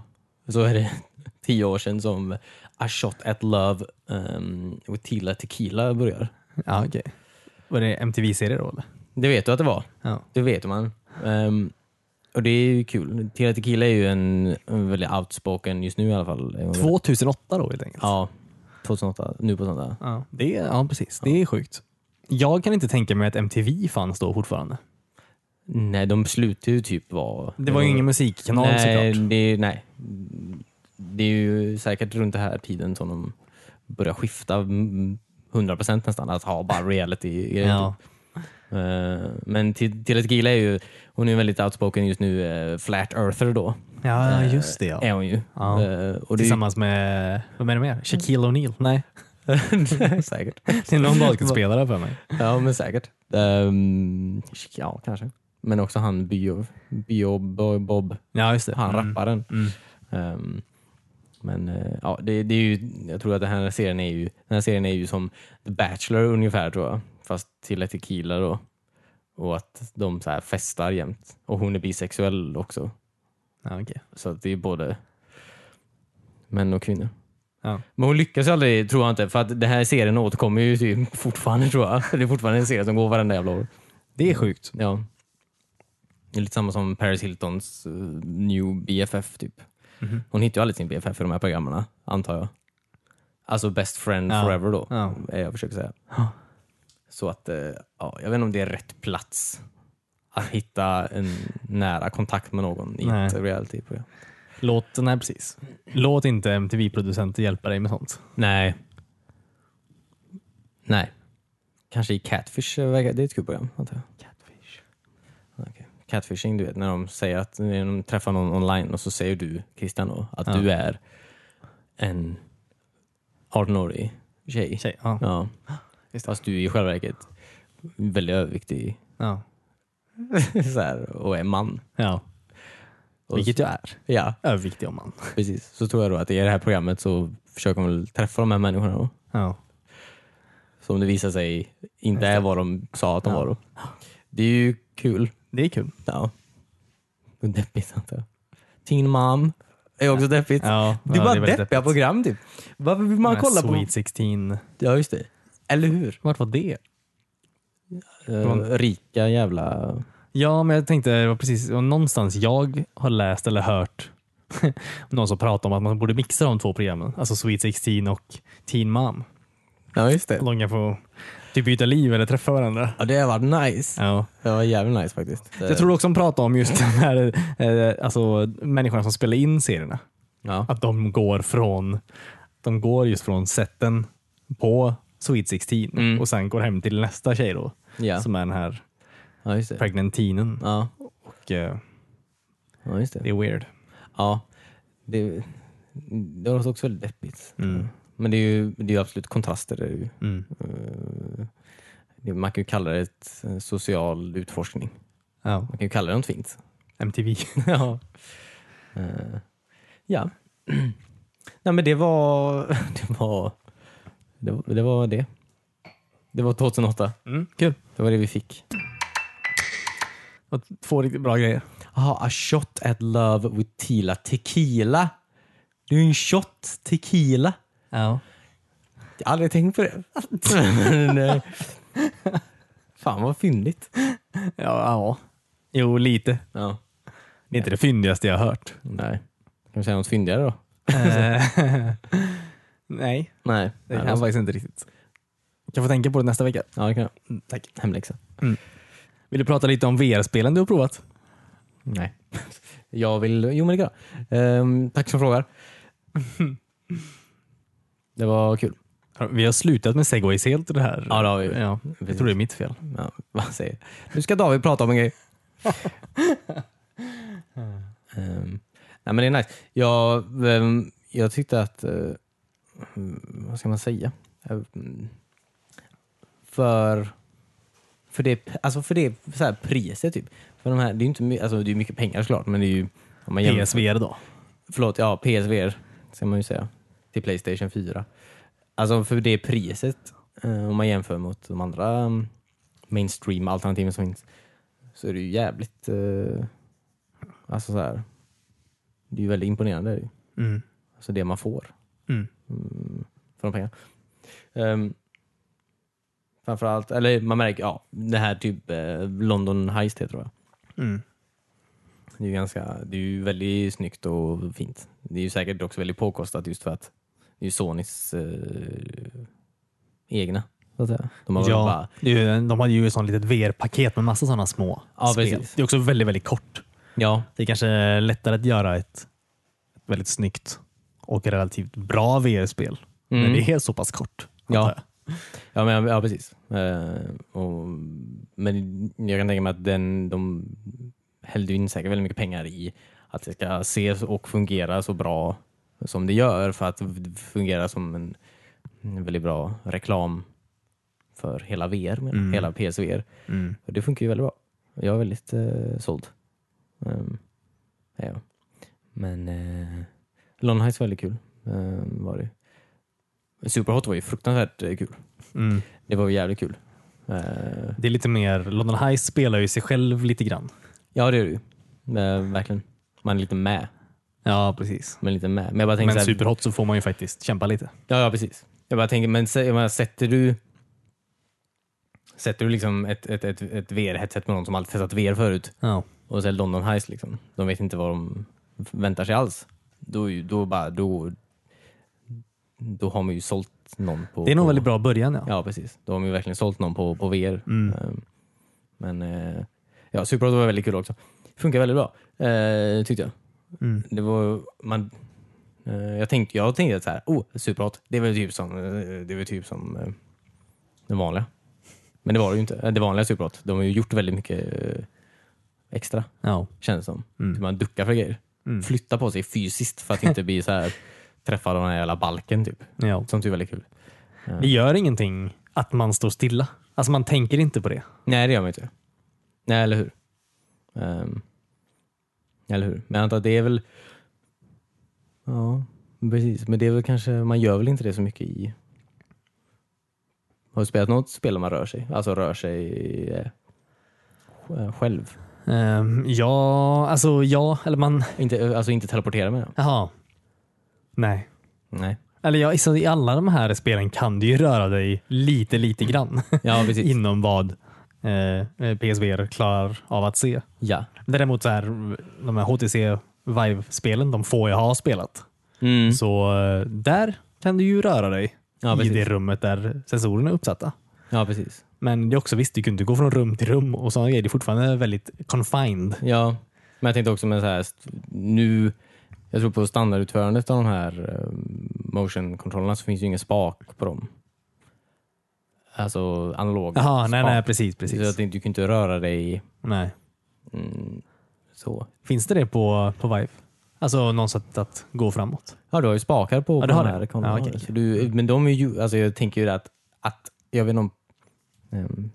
[SPEAKER 2] så är det tio år sedan som A Shot At Love um, with Tila Tequila börjar.
[SPEAKER 1] Ja, okej. Var det MTV-serie då eller?
[SPEAKER 2] Det vet du att det var.
[SPEAKER 1] Ja.
[SPEAKER 2] Det vet man. Ehm, och det är ju kul. Tila Tequila är ju en, en väldigt outspoken just nu i alla fall. Är hon väl?
[SPEAKER 1] 2008 då helt enkelt?
[SPEAKER 2] Ja, 2008. Nu på söndag.
[SPEAKER 1] Ja, det är, ja precis. Det är sjukt. Jag kan inte tänka mig att MTV fanns då fortfarande.
[SPEAKER 2] Nej, de slutade ju typ vara...
[SPEAKER 1] Det var ju ingen musikkanal
[SPEAKER 2] nej,
[SPEAKER 1] såklart.
[SPEAKER 2] det, är- nej. Det är ju säkert runt den här tiden som de börjar skifta mm, 100% nästan. Att ha bara reality
[SPEAKER 1] Ja.
[SPEAKER 2] Eh, Men T- Tila Tequila är ju, hon är ju väldigt outspoken just nu, eh, flat earther då.
[SPEAKER 1] ja,
[SPEAKER 2] Eh,
[SPEAKER 1] just det ja.
[SPEAKER 2] Är hon ju.
[SPEAKER 1] Ja.
[SPEAKER 2] Eh, Och det är ju
[SPEAKER 1] Tillsammans med, vad menar du mer? Shaquille O'Neal? Nej,
[SPEAKER 2] säkert.
[SPEAKER 1] det är någon basketspelare för mig.
[SPEAKER 2] Ja, men säkert. Ehm, ja, kanske. Men också han Bio, Bio Bo- Bob,
[SPEAKER 1] Ja, just det.
[SPEAKER 2] han
[SPEAKER 1] Mm.
[SPEAKER 2] rapparen.
[SPEAKER 1] Mm.
[SPEAKER 2] Ehm, men eh, ja, det, det är ju, jag tror att den här serien är ju, den här serien är ju som The Bachelor ungefär tror jag. Fast till ett tequila då. Och att de så här festar jämt. Och hon är bisexuell också.
[SPEAKER 1] Ja, okej.
[SPEAKER 2] Så att det är både män och kvinnor.
[SPEAKER 1] Ja.
[SPEAKER 2] Men hon lyckas ju aldrig, tror jag inte, för att den här serien återkommer ju typ fortfarande tror jag. Det är fortfarande en serie som går varenda jävla år.
[SPEAKER 1] Det är sjukt.
[SPEAKER 2] Ja. Det är lite samma som Paris Hiltons eh, new BFF typ.
[SPEAKER 1] Mhm.
[SPEAKER 2] Hon hittar ju aldrig sin BFF i de här programmen, antar jag. Alltså best friend
[SPEAKER 1] Ja.
[SPEAKER 2] forever då,
[SPEAKER 1] Ja.
[SPEAKER 2] är jag försöker säga. Så att, eh, ja, jag vet inte om det är rätt plats att hitta en nära kontakt med någon i
[SPEAKER 1] Nej.
[SPEAKER 2] ett realityprogram.
[SPEAKER 1] Låt, nej, precis. Låt inte MTV-producenter hjälpa dig med sånt.
[SPEAKER 2] Nej. Nej. Kanske i Catfish, eh, verkar- det är ett kul program antar jag. Catfish. Catfishing, du vet när de säger att när de träffar någon online och så säger du Christian då, att
[SPEAKER 1] Ja.
[SPEAKER 2] du är en 18-årig tjej.
[SPEAKER 1] Tjej, ja.
[SPEAKER 2] Ja.
[SPEAKER 1] Just det.
[SPEAKER 2] Fast du är i själva verket väldigt överviktig
[SPEAKER 1] Ja.
[SPEAKER 2] så här, och är man.
[SPEAKER 1] ja.
[SPEAKER 2] Och
[SPEAKER 1] Vilket jag är.
[SPEAKER 2] Ja,
[SPEAKER 1] Överviktig om man.
[SPEAKER 2] precis. Så tror jag då att i det här programmet så försöker de väl träffa de här människorna då.
[SPEAKER 1] Ja.
[SPEAKER 2] Som det visar sig inte är vad de sa att de
[SPEAKER 1] Ja.
[SPEAKER 2] var då. Det är ju kul.
[SPEAKER 1] Det är kul.
[SPEAKER 2] Ja. Och deppigt antar jag. Teen Mom är också deppigt.
[SPEAKER 1] Ja,
[SPEAKER 2] Det är
[SPEAKER 1] ja,
[SPEAKER 2] bara
[SPEAKER 1] är väldigt
[SPEAKER 2] deppiga program typ. Varför vill man
[SPEAKER 1] Den här
[SPEAKER 2] kolla på...
[SPEAKER 1] Sweet 16.
[SPEAKER 2] Ja just det. Eller hur?
[SPEAKER 1] Vart var det?
[SPEAKER 2] Eh, rika jävla...
[SPEAKER 1] Ja, men jag tänkte det var precis det var någonstans jag har läst eller hört någon som pratar om att man borde mixa de två programmen. Alltså Sweet 16 och Teen Mom.
[SPEAKER 2] Ja just det.
[SPEAKER 1] De kan få typ byta liv eller träffa varandra.
[SPEAKER 2] Ja det har varit nice.
[SPEAKER 1] Ja.
[SPEAKER 2] Det var jävligt nice faktiskt.
[SPEAKER 1] Jag tror också de pratar om just de här eh, alltså, människorna som spelar in serierna.
[SPEAKER 2] Eh, Ja.
[SPEAKER 1] Att de går från de går just från seten på Sweet 16
[SPEAKER 2] Mm.
[SPEAKER 1] och sen går hem till nästa tjej då.
[SPEAKER 2] Ja.
[SPEAKER 1] Som är den här
[SPEAKER 2] Ja, just det.
[SPEAKER 1] pregnantinen.
[SPEAKER 2] Ja,
[SPEAKER 1] Och, eh,
[SPEAKER 2] ja just det.
[SPEAKER 1] det är weird.
[SPEAKER 2] Ja, det, det låter också väldigt deppigt.
[SPEAKER 1] Mm.
[SPEAKER 2] Men det är ju, det är ju absolut kontraster. Det är ju,
[SPEAKER 1] Mm.
[SPEAKER 2] eh, det, man kan ju kalla det ett eh, social utforskning.
[SPEAKER 1] Ja,
[SPEAKER 2] Man kan ju kalla det något fint.
[SPEAKER 1] MTV.
[SPEAKER 2] ja. Eh, ja. Nej men det var, det var det. Var, det, var det. det var 2008.
[SPEAKER 1] Mm, kul.
[SPEAKER 2] Det var det vi fick.
[SPEAKER 1] Och två riktigt bra grejer.
[SPEAKER 2] Jaha, a shot at love with Tila Tequila. Det är ju en shot tequila.
[SPEAKER 1] Ja.
[SPEAKER 2] Jag har aldrig tänkt på det. Men, eh, Fan vad fyndigt.
[SPEAKER 1] Ja, ja. Jo, lite.
[SPEAKER 2] Ja.
[SPEAKER 1] Det är inte det fyndigaste jag har hört.
[SPEAKER 2] Nej. Kan vi säga något fyndigare då?
[SPEAKER 1] Eh, Nej,
[SPEAKER 2] Nej.
[SPEAKER 1] det kan jag faktiskt inte riktigt. Jag kan få tänka på det nästa vecka.
[SPEAKER 2] Ja, det kan jag.
[SPEAKER 1] Tack.
[SPEAKER 2] Hemläxa.
[SPEAKER 1] Vill du prata lite om VR-spelen du har provat?
[SPEAKER 2] Nej. Jag vill... Jo, men det kan jag. Ehm, Tack som frågar. Det var kul.
[SPEAKER 1] Vi har slutat med segways helt i det här.
[SPEAKER 2] Ja, det har vi.
[SPEAKER 1] Ja, jag
[SPEAKER 2] Precis.
[SPEAKER 1] tror det är mitt fel.
[SPEAKER 2] Ja, vad säger jag? Nu ska David prata om en grej. Ehm, nej men det är nice. Jag, ehm, jag tyckte att, eh, mm, vad ska man säga? Ehm, för, för det, alltså för det så här, priset typ. För de här, det är ju inte my- alltså, det är ju mycket pengar såklart men det är ju om man jämför-
[SPEAKER 1] PSVR då?
[SPEAKER 2] förlåt, ja PSVR ska man ju säga. Till Playstation 4. Alltså för det priset, eh, om man jämför mot de andra mm, mainstream-alternativen som finns, så är det ju jävligt... Eh, alltså så här. Det är ju väldigt imponerande. är det ju.
[SPEAKER 1] Mm.
[SPEAKER 2] Alltså det man får
[SPEAKER 1] Mm.
[SPEAKER 2] mm, för de pengarna. Um, framförallt, eller man märker, ja, det här typ eh, London Heist heter det va?
[SPEAKER 1] Mm.
[SPEAKER 2] Det är ju ganska, det är ju väldigt snyggt och fint. Det är ju säkert också väldigt påkostat just för att det är ju Sonys eh, egna. Så att säga. De har väl bara,
[SPEAKER 1] Ja, det är ju- de hade ju ett sånt litet VR-paket med massa sådana små
[SPEAKER 2] Ja,
[SPEAKER 1] spel.
[SPEAKER 2] precis.
[SPEAKER 1] Det är också väldigt, väldigt kort.
[SPEAKER 2] ja,
[SPEAKER 1] Det är kanske lättare att göra ett, ett väldigt snyggt och relativt bra VR-spel
[SPEAKER 2] Mm.
[SPEAKER 1] när det är så pass kort.
[SPEAKER 2] Ja.
[SPEAKER 1] antar jag.
[SPEAKER 2] ja, men, ja precis. Eh, och, men jag kan tänka mig att den, de hällde ju in säkert väldigt mycket pengar i att det ska se och fungera så bra som det gör för att fungera som en, en väldigt bra reklam för hela VR, menar jag.
[SPEAKER 1] Mm.
[SPEAKER 2] hela PSVR.
[SPEAKER 1] Mm.
[SPEAKER 2] Och det funkar ju väldigt bra. Jag är väldigt eh, såld. Ehm, är jag. Men eh, London Heights var väldigt kul. Ehm, var det. ju. Superhot var ju fruktansvärt eh, kul.
[SPEAKER 1] Mm.
[SPEAKER 2] Det var ju jävligt kul. Eh,
[SPEAKER 1] Det är lite mer, London Heist spelar ju sig själv lite grann.
[SPEAKER 2] ja det är det ju. Eh, verkligen. Man är lite med.
[SPEAKER 1] Ja, precis.
[SPEAKER 2] Man är lite med. Men jag bara
[SPEAKER 1] Men
[SPEAKER 2] tänker så här,
[SPEAKER 1] superhot så får man ju faktiskt kämpa lite.
[SPEAKER 2] Ja, ja precis. Jag bara tänker, men sä- jag menar, sätter du Sätter du liksom ett, ett, ett, ett VR-headset med någon som aldrig testat VR förut
[SPEAKER 1] Ja.
[SPEAKER 2] och så är det London Heist liksom. De vet inte vad de väntar sig alls. Då, är ju- då, bara, då, då har man ju sålt någon på...
[SPEAKER 1] Det är nog en
[SPEAKER 2] på,
[SPEAKER 1] väldigt bra början. Ja.
[SPEAKER 2] Ja, precis. Då har man ju verkligen sålt någon på, på VR.
[SPEAKER 1] Mm.
[SPEAKER 2] Ehm, Men eh, ja, Superhot var väldigt kul också. Funkar väldigt bra, eh, tyckte jag.
[SPEAKER 1] Mm.
[SPEAKER 2] Det var, man, eh, jag, tänkte, jag tänkte så här, oh, Superhot, det är väl typ som, eh, det är väl typ som eh, det vanliga. Men det var det ju inte. Eh, Det vanliga Superhot, de har ju gjort väldigt mycket eh, extra
[SPEAKER 1] Ja.
[SPEAKER 2] känns det som.
[SPEAKER 1] Mm.
[SPEAKER 2] Typ man duckar för grejer.
[SPEAKER 1] Mm.
[SPEAKER 2] Flyttar på sig fysiskt för att inte bli så här träffa den här jävla balken typ.
[SPEAKER 1] Ja.
[SPEAKER 2] Sånt är väldigt kul.
[SPEAKER 1] Det gör ingenting att man står stilla. Alltså man tänker inte på det.
[SPEAKER 2] Nej, det gör man inte. Nej, eller hur? Ehm, eller hur? Men jag antar att det är väl... Ja, precis. Men det är väl kanske... Man gör väl inte det så mycket i... Har du spelat något spel där man rör sig? Alltså rör sig eh, sj- själv?
[SPEAKER 1] Ehm, ja, alltså ja, eller man...
[SPEAKER 2] Inte, alltså inte teleportera med?
[SPEAKER 1] Jaha. Nej.
[SPEAKER 2] Nej.
[SPEAKER 1] Eller ja, så i alla de här spelen kan du ju röra dig lite, lite grann
[SPEAKER 2] Ja, precis.
[SPEAKER 1] inom vad eh, PSVR klarar av att se.
[SPEAKER 2] Ja.
[SPEAKER 1] Däremot så här, de här HTC Vive-spelen, de får jag ha spelat.
[SPEAKER 2] Mm.
[SPEAKER 1] Så eh, där kan du ju röra dig
[SPEAKER 2] Ja,
[SPEAKER 1] i
[SPEAKER 2] precis.
[SPEAKER 1] det rummet där sensorerna är uppsatta.
[SPEAKER 2] Ja, precis.
[SPEAKER 1] Men det är också visst, du kan inte gå från rum till rum och sådana grejer. Det är fortfarande väldigt confined.
[SPEAKER 2] Ja, men jag tänkte också med så här, st- nu, jag tror på standardutförandet eh, av de här motion-kontrollerna så finns ju ingen spak på dem. Alltså analoga.
[SPEAKER 1] Jaha, nej,
[SPEAKER 2] spak.
[SPEAKER 1] nej, precis,
[SPEAKER 2] Så att
[SPEAKER 1] precis.
[SPEAKER 2] du du kan inte röra dig
[SPEAKER 1] Nej.
[SPEAKER 2] mm, så.
[SPEAKER 1] Finns det det på, på Vive? Alltså någon sätt att gå framåt?
[SPEAKER 2] Ja, du har ju spakar på,
[SPEAKER 1] Ja,
[SPEAKER 2] på
[SPEAKER 1] du har
[SPEAKER 2] de
[SPEAKER 1] det.
[SPEAKER 2] här
[SPEAKER 1] Ja, okej.
[SPEAKER 2] Så du, Men de är ju, alltså jag tänker ju att, att jag vet inte om um,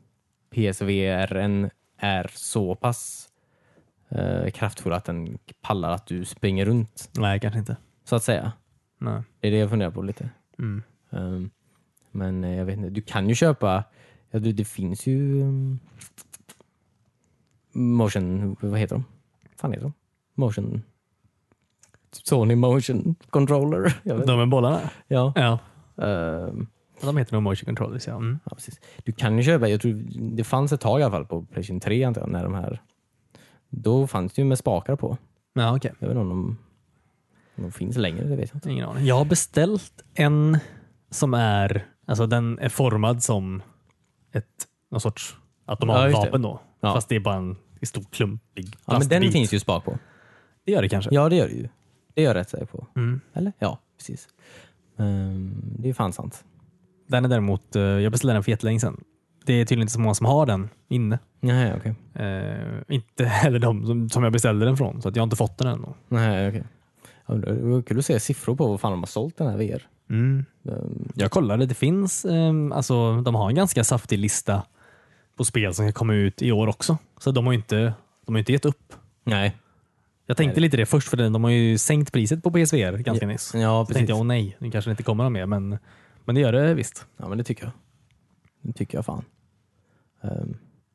[SPEAKER 2] PSVR är så pass eh, kraftfull att den pallar att du springer runt,
[SPEAKER 1] Nej, kanske inte.
[SPEAKER 2] så att säga.
[SPEAKER 1] Nej.
[SPEAKER 2] Det är det jag funderar på lite.
[SPEAKER 1] Mm.
[SPEAKER 2] Ehm, men eh, jag vet inte, du kan ju köpa, ja, du, det finns ju um, motion, vad heter de? Vad fan heter de? Motion Typ Sony motion controller. Jag vet. inte.
[SPEAKER 1] De med bollarna?
[SPEAKER 2] Ja.
[SPEAKER 1] Ja.
[SPEAKER 2] Ehm,
[SPEAKER 1] De heter nog motion controllers ja. Mm.
[SPEAKER 2] ja, precis. Du kan ju köpa, jag tror det fanns ett tag i alla fall på Playstation 3 antar jag, när de här, då fanns det ju med spakar på.
[SPEAKER 1] Ja, okej.
[SPEAKER 2] Jag vet inte om de, om de finns längre, det vet jag inte.
[SPEAKER 1] Ingen aning. Jag har beställt en som är, alltså den är formad som ett, någon sorts
[SPEAKER 2] Ja, just
[SPEAKER 1] automatvapen
[SPEAKER 2] det.
[SPEAKER 1] då.
[SPEAKER 2] Ja.
[SPEAKER 1] Fast det är bara en stor klumpig
[SPEAKER 2] Ja, men
[SPEAKER 1] plastbit.
[SPEAKER 2] den finns ju spak på.
[SPEAKER 1] Det gör det kanske.
[SPEAKER 2] Ja, det gör det ju. Det är jag rätt säker på.
[SPEAKER 1] Mm.
[SPEAKER 2] Eller? Ja, precis. Ehm, det är fan sant.
[SPEAKER 1] Den är däremot, eh, jag beställde den för jättelänge sedan. Det är tydligen inte så många som har den inne.
[SPEAKER 2] Nej, okej.
[SPEAKER 1] Eh, inte heller de som, som jag beställde den från, så att jag har inte fått den än. då.
[SPEAKER 2] Nej, okej. Ja, Det var kul att se siffror på vad fan de har sålt den här VR. Ehm,
[SPEAKER 1] Jag kollade, det finns, ehm, alltså de har en ganska saftig lista på spel som ska komma ut i år också. Så de har ju inte, de har ju inte gett upp.
[SPEAKER 2] nej.
[SPEAKER 1] Jag tänkte lite det först, för den- de har ju sänkt priset på PSVR ganska nyss. Så
[SPEAKER 2] Ja, precis.
[SPEAKER 1] tänkte jag, åh nej, nu kanske det inte kommer någon mer, men, men det gör det visst.
[SPEAKER 2] Ja, men det tycker jag. Det tycker jag fan. Ehm,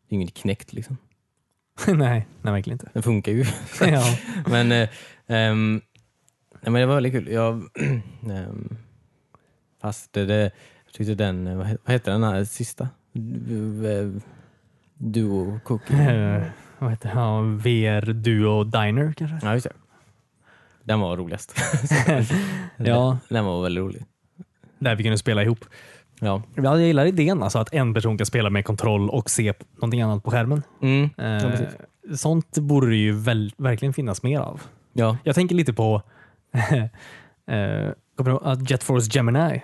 [SPEAKER 2] det är inget knäckt liksom.
[SPEAKER 1] nej, nej, verkligen inte.
[SPEAKER 2] Den funkar ju.
[SPEAKER 1] ja.
[SPEAKER 2] men, eh, ehm, nej, men det var väldigt kul. Jag, ehm, fast det, det, jag tyckte den, eh, vad he- vad heter den här sista? Du- eh, Duo Cookie.
[SPEAKER 1] Eh, Vad heter det? Ja, VR Duo Diner kanske?
[SPEAKER 2] Ja, just det. Den var roligast.
[SPEAKER 1] Ja,
[SPEAKER 2] Den var väldigt rolig.
[SPEAKER 1] där vi kunde spela ihop.
[SPEAKER 2] Ja.
[SPEAKER 1] Ja, Jag gillar idén alltså att en person kan spela med kontroll och se p- någonting annat på skärmen.
[SPEAKER 2] Mm.
[SPEAKER 1] Eh,
[SPEAKER 2] Ja, precis.
[SPEAKER 1] sånt borde det ju väl, verkligen finnas mer av.
[SPEAKER 2] Ja.
[SPEAKER 1] Jag tänker lite på eh, kommer du ihåg, att Jet Force Gemini.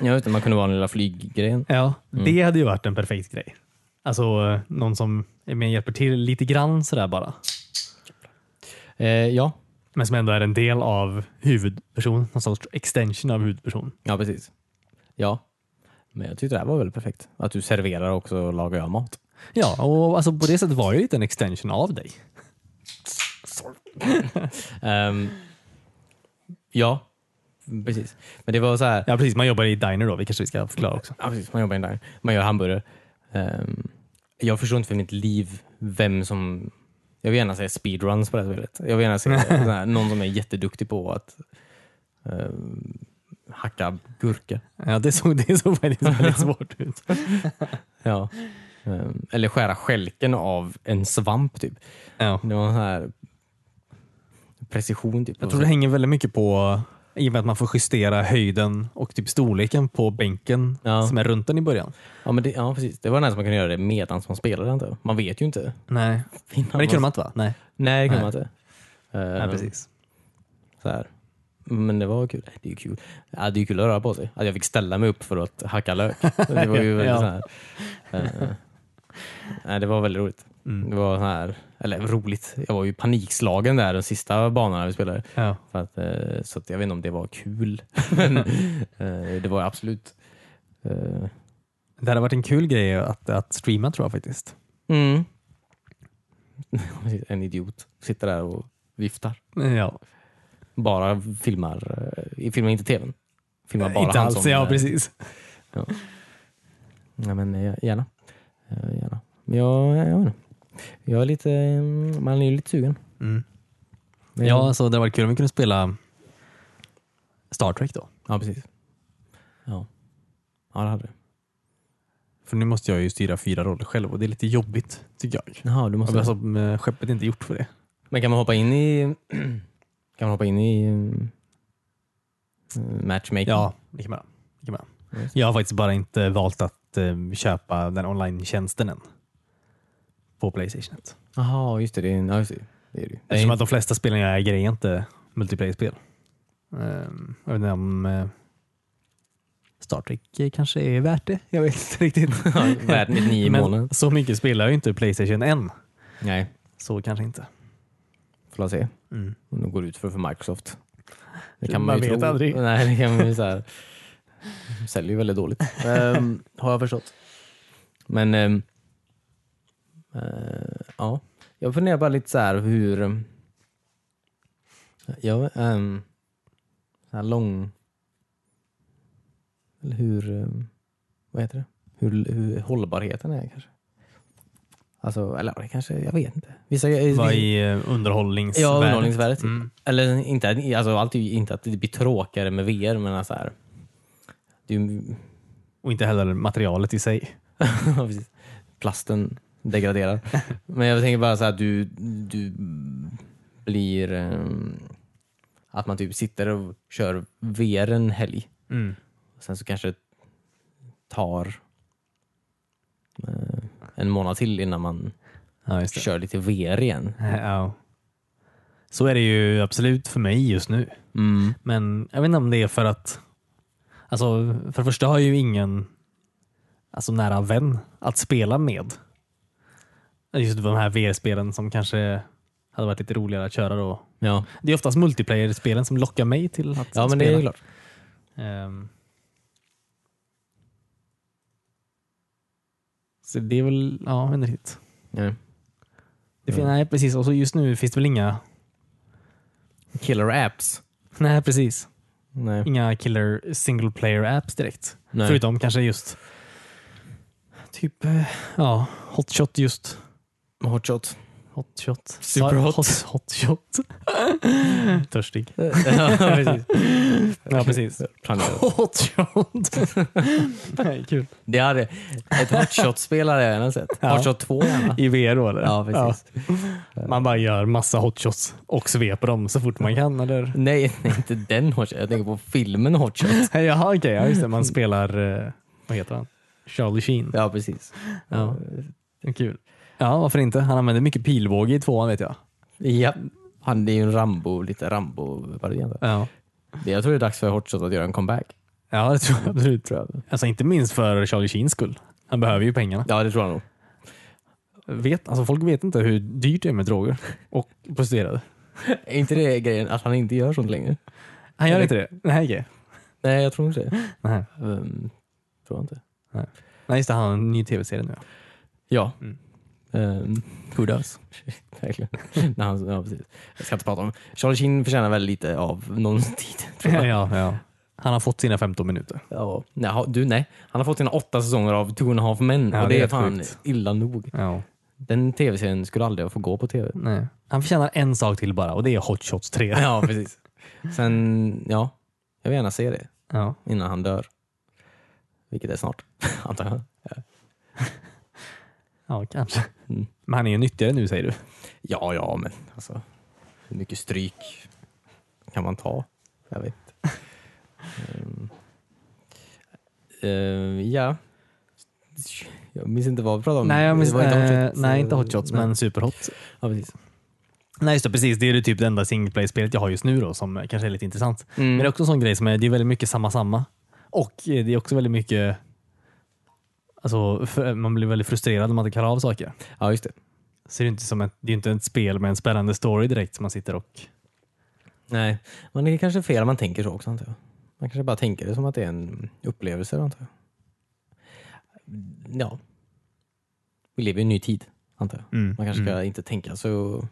[SPEAKER 2] ja, just det. Man kunde vara den lilla flyggrejen.
[SPEAKER 1] Ja, Det hade ju varit en perfekt grej. Alltså eh, någon som är med och hjälper till lite grann sådär bara.
[SPEAKER 2] Eh, ja.
[SPEAKER 1] Men som ändå är en del av huvudpersonen. Någon sorts extension av huvudpersonen.
[SPEAKER 2] ja, precis. Ja. Men jag tyckte det här var väldigt perfekt. Att du serverar också och lagar jag mat.
[SPEAKER 1] Ja, och alltså på det sättet var jag ju lite en extension av dig.
[SPEAKER 2] Ehm, ja, precis. Men det var så här.
[SPEAKER 1] Ja, precis. Man jobbar i diner då. Vi kanske vi ska förklara också.
[SPEAKER 2] Ja, precis. Man jobbar i en diner. Man gör hamburgare. Ehm, jag förstår inte för mitt liv vem som... Jag vill gärna se speedruns på det här spelet. Jag vill gärna se sån här, någon som är jätteduktig på att ehm, hacka gurka.
[SPEAKER 1] Ja, det såg, det såg faktiskt väldigt svårt ut.
[SPEAKER 2] Ja. Ehm, eller skära skälken av en svamp typ.
[SPEAKER 1] Ja.
[SPEAKER 2] Det var så här precision typ.
[SPEAKER 1] Jag tror det hänger väldigt mycket på, i och med att man får justera höjden och typ storleken på bänken
[SPEAKER 2] Ja.
[SPEAKER 1] som är runt den i början.
[SPEAKER 2] ja, men det, ja, precis. Det var nästan man kunde göra det medan man spelade antar jag. Man vet ju inte.
[SPEAKER 1] Nej. Men det kunde man inte va? Nej,
[SPEAKER 2] Nej, det kunde
[SPEAKER 1] Nej.
[SPEAKER 2] man inte. Ehm,
[SPEAKER 1] Nej precis.
[SPEAKER 2] Så här. Men det var kul. Det är ju kul. Ja, det är ju kul att röra på sig. Att jag fick ställa mig upp för att hacka lök. Det var ju väldigt
[SPEAKER 1] Ja.
[SPEAKER 2] så här. eh, nej, det var väldigt roligt.
[SPEAKER 1] Mm.
[SPEAKER 2] Det var så här, eller roligt. Jag var ju panikslagen där den sista banan vi spelade.
[SPEAKER 1] Ja.
[SPEAKER 2] För att, eh, så att jag vet inte om det var kul. Men eh, det var absolut. eh,
[SPEAKER 1] Det hade varit en kul grej att, att streama tror jag faktiskt.
[SPEAKER 2] Mm. En idiot sitter där och viftar.
[SPEAKER 1] Ja,
[SPEAKER 2] Bara filmar, eh, filmar inte tvn. Filmar bara
[SPEAKER 1] inte
[SPEAKER 2] han
[SPEAKER 1] alls.
[SPEAKER 2] som,
[SPEAKER 1] Ja,
[SPEAKER 2] eh,
[SPEAKER 1] precis.
[SPEAKER 2] Ja, men eh, gärna. Eh, gärna. Men jag, eh, jag, vet inte. jag är lite, eh, man är ju lite sugen.
[SPEAKER 1] Mm.
[SPEAKER 2] Men-
[SPEAKER 1] Ja, så det hade varit kul om vi kunde spela Star Trek då.
[SPEAKER 2] ja, precis. Ja, ja det hade du.
[SPEAKER 1] För nu måste jag ju styra fyra roller själv och det är lite jobbigt tycker jag.
[SPEAKER 2] Jaha, du måste...
[SPEAKER 1] Alltså, eh, skeppet är inte gjort för det.
[SPEAKER 2] Men kan man hoppa in i... Kan man hoppa in i eh, matchmaking?
[SPEAKER 1] Ja, det kan man. göra. Det kan man. göra.
[SPEAKER 2] Just
[SPEAKER 1] Jag har faktiskt bara inte valt att eh, köpa den online-tjänsten än. På Playstation.
[SPEAKER 2] Jaha, just det. Det är, ja, just det. det, är det. ju. det
[SPEAKER 1] Eftersom
[SPEAKER 2] är,
[SPEAKER 1] att de flesta spelen jag äger är Ehm, inte multiplayer-spel. Eh, Jag vet inte om eh, Star Trek eh, kanske är värt det. Jag vet inte riktigt.
[SPEAKER 2] Värt mitt nio månader.
[SPEAKER 1] Men så mycket spelar jag inte Playstation än.
[SPEAKER 2] Nej,
[SPEAKER 1] Så kanske inte.
[SPEAKER 2] får la se.
[SPEAKER 1] Mm.
[SPEAKER 2] Om de går ut för, för Microsoft. Det
[SPEAKER 1] Man
[SPEAKER 2] ju
[SPEAKER 1] vet aldrig.
[SPEAKER 2] Nej, det kan man ju så här. De säljer ju väldigt dåligt. Ehm, har jag förstått. Men ehm, eh, ja, jag funderar bara lite så här hur ehm, jag ehm, så här lång eller hur ehm, vad heter det? Hur, hur hållbarheten är kanske. Alltså, eller det kanske, jag vet inte. Vissa,
[SPEAKER 1] Vad i eh, underhållningsvärlden?
[SPEAKER 2] Ja, underhållningsvärdet.
[SPEAKER 1] Mm.
[SPEAKER 2] Eller inte, alltså allt är ju inte att det blir tråkigare med VR, men alltså här. Det är ju,
[SPEAKER 1] Och inte heller materialet i sig.
[SPEAKER 2] Ja, precis. plasten degraderar. men jag tänker bara så här, du, du blir... ehm, att man typ sitter och kör VR en helg.
[SPEAKER 1] Mm.
[SPEAKER 2] Sen så kanske det tar eh, en månad till innan man
[SPEAKER 1] Ja, just det. Äh,
[SPEAKER 2] kör lite VR igen.
[SPEAKER 1] Ja. Så är det ju absolut för mig just nu.
[SPEAKER 2] Mm.
[SPEAKER 1] Men jag vet inte om det är för att... Alltså, för det första har jag ju ingen alltså, nära vän att spela med. Just de här VR-spelen som kanske hade varit lite roligare att köra då.
[SPEAKER 2] Ja.
[SPEAKER 1] Det är oftast multiplayer-spelen som lockar mig till att
[SPEAKER 2] ja,
[SPEAKER 1] spela.
[SPEAKER 2] men det är klart.
[SPEAKER 1] Ehm,
[SPEAKER 2] Så det är väl...
[SPEAKER 1] ja, jag vet inte riktigt.
[SPEAKER 2] Ja.
[SPEAKER 1] Det fin-
[SPEAKER 2] Mm.
[SPEAKER 1] Nej, precis. Och så just nu finns det väl inga...
[SPEAKER 2] Killer apps.
[SPEAKER 1] Nej, precis.
[SPEAKER 2] Nej.
[SPEAKER 1] Inga killer single player-apps direkt.
[SPEAKER 2] Nej.
[SPEAKER 1] Förutom kanske just typ eh, ja, hot shot just.
[SPEAKER 2] Hotshot.
[SPEAKER 1] Hot shot.
[SPEAKER 2] Superhot.
[SPEAKER 1] Hot, hot shot. Törstig.
[SPEAKER 2] ja, precis.
[SPEAKER 1] Ja, precis.
[SPEAKER 2] Planerat.
[SPEAKER 1] Hot shot. Nej, kul.
[SPEAKER 2] Det hade, ett hotshot-spel hade jag gärna sett.
[SPEAKER 1] Ja.
[SPEAKER 2] Hotshot 2 gärna.
[SPEAKER 1] I VR då eller?
[SPEAKER 2] Ja, precis.
[SPEAKER 1] Ja. Man bara gör massa hot shots och sveper dem så fort man kan. Eller?
[SPEAKER 2] Nej, nej, inte den hotshot. Jag tänker på filmen hotshot.
[SPEAKER 1] Jaha, okej. ja, just det. Man spelar, eh, vad heter han? Charlie Sheen.
[SPEAKER 2] Ja, precis.
[SPEAKER 1] Ja. Det är Eh, Kul. Ja, varför inte? Han använder mycket pilbåge i tvåan vet jag.
[SPEAKER 2] Ja. Han det är ju en Rambo, lite Rambo-variant.
[SPEAKER 1] Ja,
[SPEAKER 2] Det- Jag tror det är dags för hotshot att göra en comeback.
[SPEAKER 1] ja det tror jag absolut.
[SPEAKER 2] Tror jag.
[SPEAKER 1] Alltså inte minst för Charlie Sheens skull. Han behöver ju pengarna.
[SPEAKER 2] Ja, det tror jag nog.
[SPEAKER 1] Vet, alltså folk vet inte hur dyrt det är med droger och prostituerade.
[SPEAKER 2] Är inte det grejen att han inte gör sånt längre?
[SPEAKER 1] Han
[SPEAKER 2] gör
[SPEAKER 1] gör
[SPEAKER 2] inte
[SPEAKER 1] inte det. Nej, okej.
[SPEAKER 2] Nej, jag tror inte det.
[SPEAKER 1] Nej.
[SPEAKER 2] Ehm, tror jag inte.
[SPEAKER 1] Nej, just det. Han har en ny tv-serie nu.
[SPEAKER 2] Ja.
[SPEAKER 1] Mm.
[SPEAKER 2] Ehm,
[SPEAKER 1] Who does?
[SPEAKER 2] Verkligen. Nej, han- ja, precis. Jag ska inte prata om Charlie Sheen förtjänar väl lite av någon tid. Tror
[SPEAKER 1] ja,
[SPEAKER 2] jag.
[SPEAKER 1] ja, ja. Han har fått sina 15 minuter.
[SPEAKER 2] Ja. Nej, ha- du, nej. Han har fått sina åtta säsonger av Two and a half men
[SPEAKER 1] Ja,
[SPEAKER 2] och
[SPEAKER 1] det
[SPEAKER 2] det
[SPEAKER 1] är
[SPEAKER 2] är
[SPEAKER 1] helt
[SPEAKER 2] fan
[SPEAKER 1] sjukt.
[SPEAKER 2] illa nog.
[SPEAKER 1] Ja.
[SPEAKER 2] Den tv-serien skulle aldrig få gå på tv.
[SPEAKER 1] Nej. Han förtjänar en sak till bara och det är Hot Shots 3.
[SPEAKER 2] Ja, precis. Sen, ja. Jag vill gärna se det
[SPEAKER 1] Ja.
[SPEAKER 2] innan han dör. Vilket är snart, antar jag.
[SPEAKER 1] ja, kanske.
[SPEAKER 2] Mm.
[SPEAKER 1] Men han är ju nyttigare nu säger du.
[SPEAKER 2] Ja, ja, men alltså. Hur mycket stryk kan man ta? Jag vet inte. Ehm. Ehm, ja. Jag minns inte vad vi pratade om.
[SPEAKER 1] Nej, jag minns,
[SPEAKER 2] Det var inte
[SPEAKER 1] eh,
[SPEAKER 2] Hot Shots.
[SPEAKER 1] nej, inte Hot Shots,
[SPEAKER 2] Nej.
[SPEAKER 1] men Superhot.
[SPEAKER 2] Ja, precis.
[SPEAKER 1] Nej, just det, precis. Det är ju typ det enda singleplay-spelet jag har just nu då, som kanske är lite intressant.
[SPEAKER 2] Mm.
[SPEAKER 1] Men det är också en sån grej som är, det är väldigt mycket samma samma. Och eh, det är också väldigt mycket Alltså, för, man blir väldigt frustrerad när man inte klarar av saker.
[SPEAKER 2] Ja, just det.
[SPEAKER 1] Så det är ju inte, som ett, det är ju inte ett spel med en spännande story direkt som man sitter och...
[SPEAKER 2] Nej, men det är kanske fel om man tänker så också, antar jag. Man kanske bara tänker det som att det är en upplevelse, antar jag. Ja. Vi lever i en ny tid, antar jag.
[SPEAKER 1] Mm,
[SPEAKER 2] Man kanske
[SPEAKER 1] mm,
[SPEAKER 2] ska inte tänka så...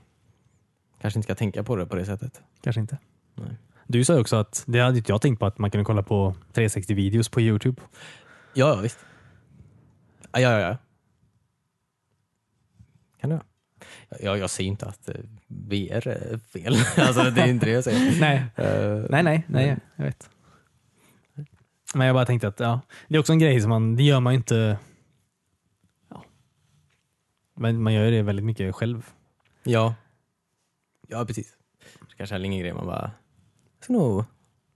[SPEAKER 2] Kanske inte ska tänka på det på det sättet.
[SPEAKER 1] kanske inte.
[SPEAKER 2] Nej.
[SPEAKER 1] Du sa ju också att, det hade inte jag tänkt på, att man kunde kolla på 360-videos på Youtube.
[SPEAKER 2] Ja, ja visst. Ja, ja, ja. Kan du? Ja, jag säger inte att eh, VR är fel. alltså, det är inte det jag säger.
[SPEAKER 1] Nej,
[SPEAKER 2] Eh,
[SPEAKER 1] nej, nej, nej jag vet. Men jag bara tänkte att ja, det är också en grej som man, det gör man ju inte... Ja. Men man gör ju det väldigt mycket själv.
[SPEAKER 2] Ja. ja, precis. Det kanske är en grej man bara... Jag ska nog, jag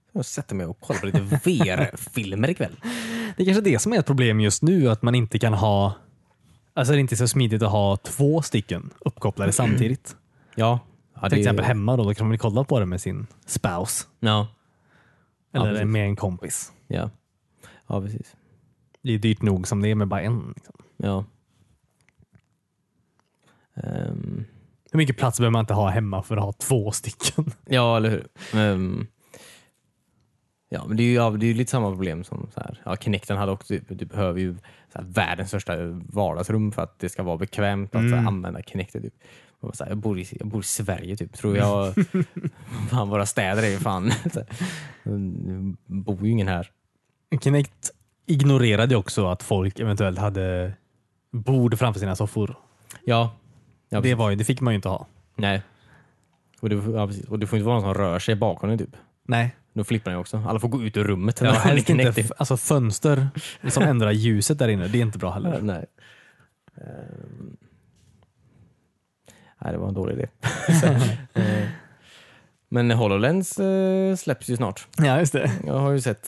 [SPEAKER 2] ska nog sätta mig och kolla på lite VR-filmer ikväll.
[SPEAKER 1] Det är kanske det som är ett problem just nu, att man inte kan ha... Alltså det är inte så smidigt att ha två stycken uppkopplade samtidigt.
[SPEAKER 2] Ja. ja
[SPEAKER 1] Till exempel hemma då, då kan man ju kolla på det med sin spouse.
[SPEAKER 2] Ja.
[SPEAKER 1] Eller
[SPEAKER 2] precis.
[SPEAKER 1] med en kompis.
[SPEAKER 2] ja. Ja, precis.
[SPEAKER 1] Det är dyrt nog som det är med bara en. Liksom.
[SPEAKER 2] Ja. Ehm,
[SPEAKER 1] Hur mycket plats behöver man inte ha hemma för att ha två stycken?
[SPEAKER 2] ja, eller hur? Ehm, ja, men det är ju ja, det är ju lite samma problem som så här. Ja, Kinecten hade också, typ, du behöver ju så här, världens största vardagsrum för att det ska vara bekvämt att
[SPEAKER 1] Mm.
[SPEAKER 2] så här, använda Kinecten. Typ. Och Så här, jag, bor i, jag bor i Sverige typ, tror jag. fan, våra städer är ju fan... så här, det bor ju ingen här.
[SPEAKER 1] Kinect ignorerade ju också att folk eventuellt hade bord framför sina soffor.
[SPEAKER 2] Ja, ja
[SPEAKER 1] det, var ju, det fick man ju inte ha.
[SPEAKER 2] Nej. Och det, ja, precis. Och det får inte vara någon som rör sig bakom dig typ.
[SPEAKER 1] Nej,
[SPEAKER 2] Då flippar den ju också. Alla får gå ut ur rummet.
[SPEAKER 1] ja,
[SPEAKER 2] när de är
[SPEAKER 1] helst inte.
[SPEAKER 2] knäckta.
[SPEAKER 1] f- Alltså fönster som ändrar ljuset där inne, det är inte bra heller.
[SPEAKER 2] Nej. Ehm. Nej, det var en dålig idé. Ehm. Men HoloLens eh, släpps ju snart.
[SPEAKER 1] Ja, just det.
[SPEAKER 2] Jag har ju sett.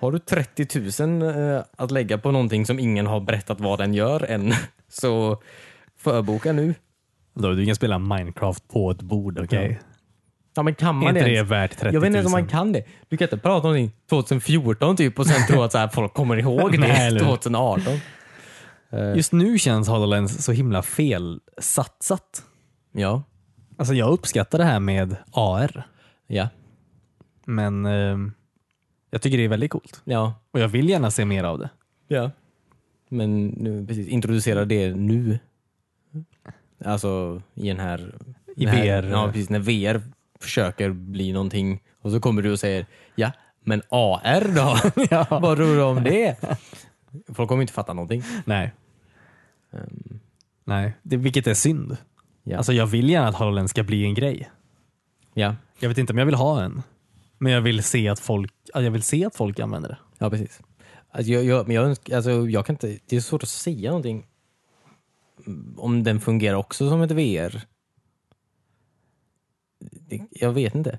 [SPEAKER 2] Har du 30 000 eh, att lägga på någonting som ingen har berättat vad den gör än, så förboka nu.
[SPEAKER 1] Då, du kan spela Minecraft på ett bord, okej?
[SPEAKER 2] Ja, men kan
[SPEAKER 1] Är
[SPEAKER 2] man
[SPEAKER 1] inte
[SPEAKER 2] ens?
[SPEAKER 1] det värt 30 000?
[SPEAKER 2] Jag vet inte ens om man kan det. Du kan inte prata om någonting 2014 typ och sen tro att så här, folk kommer ihåg
[SPEAKER 1] Nej, eller
[SPEAKER 2] det
[SPEAKER 1] hur?
[SPEAKER 2] 2018.
[SPEAKER 1] Just nu känns HoloLens så himla felsatsat.
[SPEAKER 2] Ja,
[SPEAKER 1] Alltså jag uppskattar det här med AR,
[SPEAKER 2] ja,
[SPEAKER 1] men eh, jag tycker det är väldigt coolt.
[SPEAKER 2] ja,
[SPEAKER 1] Och jag vill gärna se mer av det.
[SPEAKER 2] ja. Men nu, precis, introducera det nu. Alltså i den här...
[SPEAKER 1] I
[SPEAKER 2] den här,
[SPEAKER 1] VR.
[SPEAKER 2] Ja, precis. När VR försöker bli någonting och så kommer du och säger ja, men AR då? Vad tror du om det? Folk kommer inte fatta någonting.
[SPEAKER 1] Nej. Ehm. Nej, det, vilket är synd.
[SPEAKER 2] Ja.
[SPEAKER 1] Alltså jag vill gärna att HoloLens ska bli en grej.
[SPEAKER 2] ja,
[SPEAKER 1] Jag vet inte om jag vill ha en. Men jag vill se att folk, ja, jag vill se att folk använder det.
[SPEAKER 2] Ja, precis. Alltså, jag, jag, men jag, önskar, alltså, jag kan inte, det är svårt att säga någonting om den fungerar också som ett VR. Det, jag vet inte.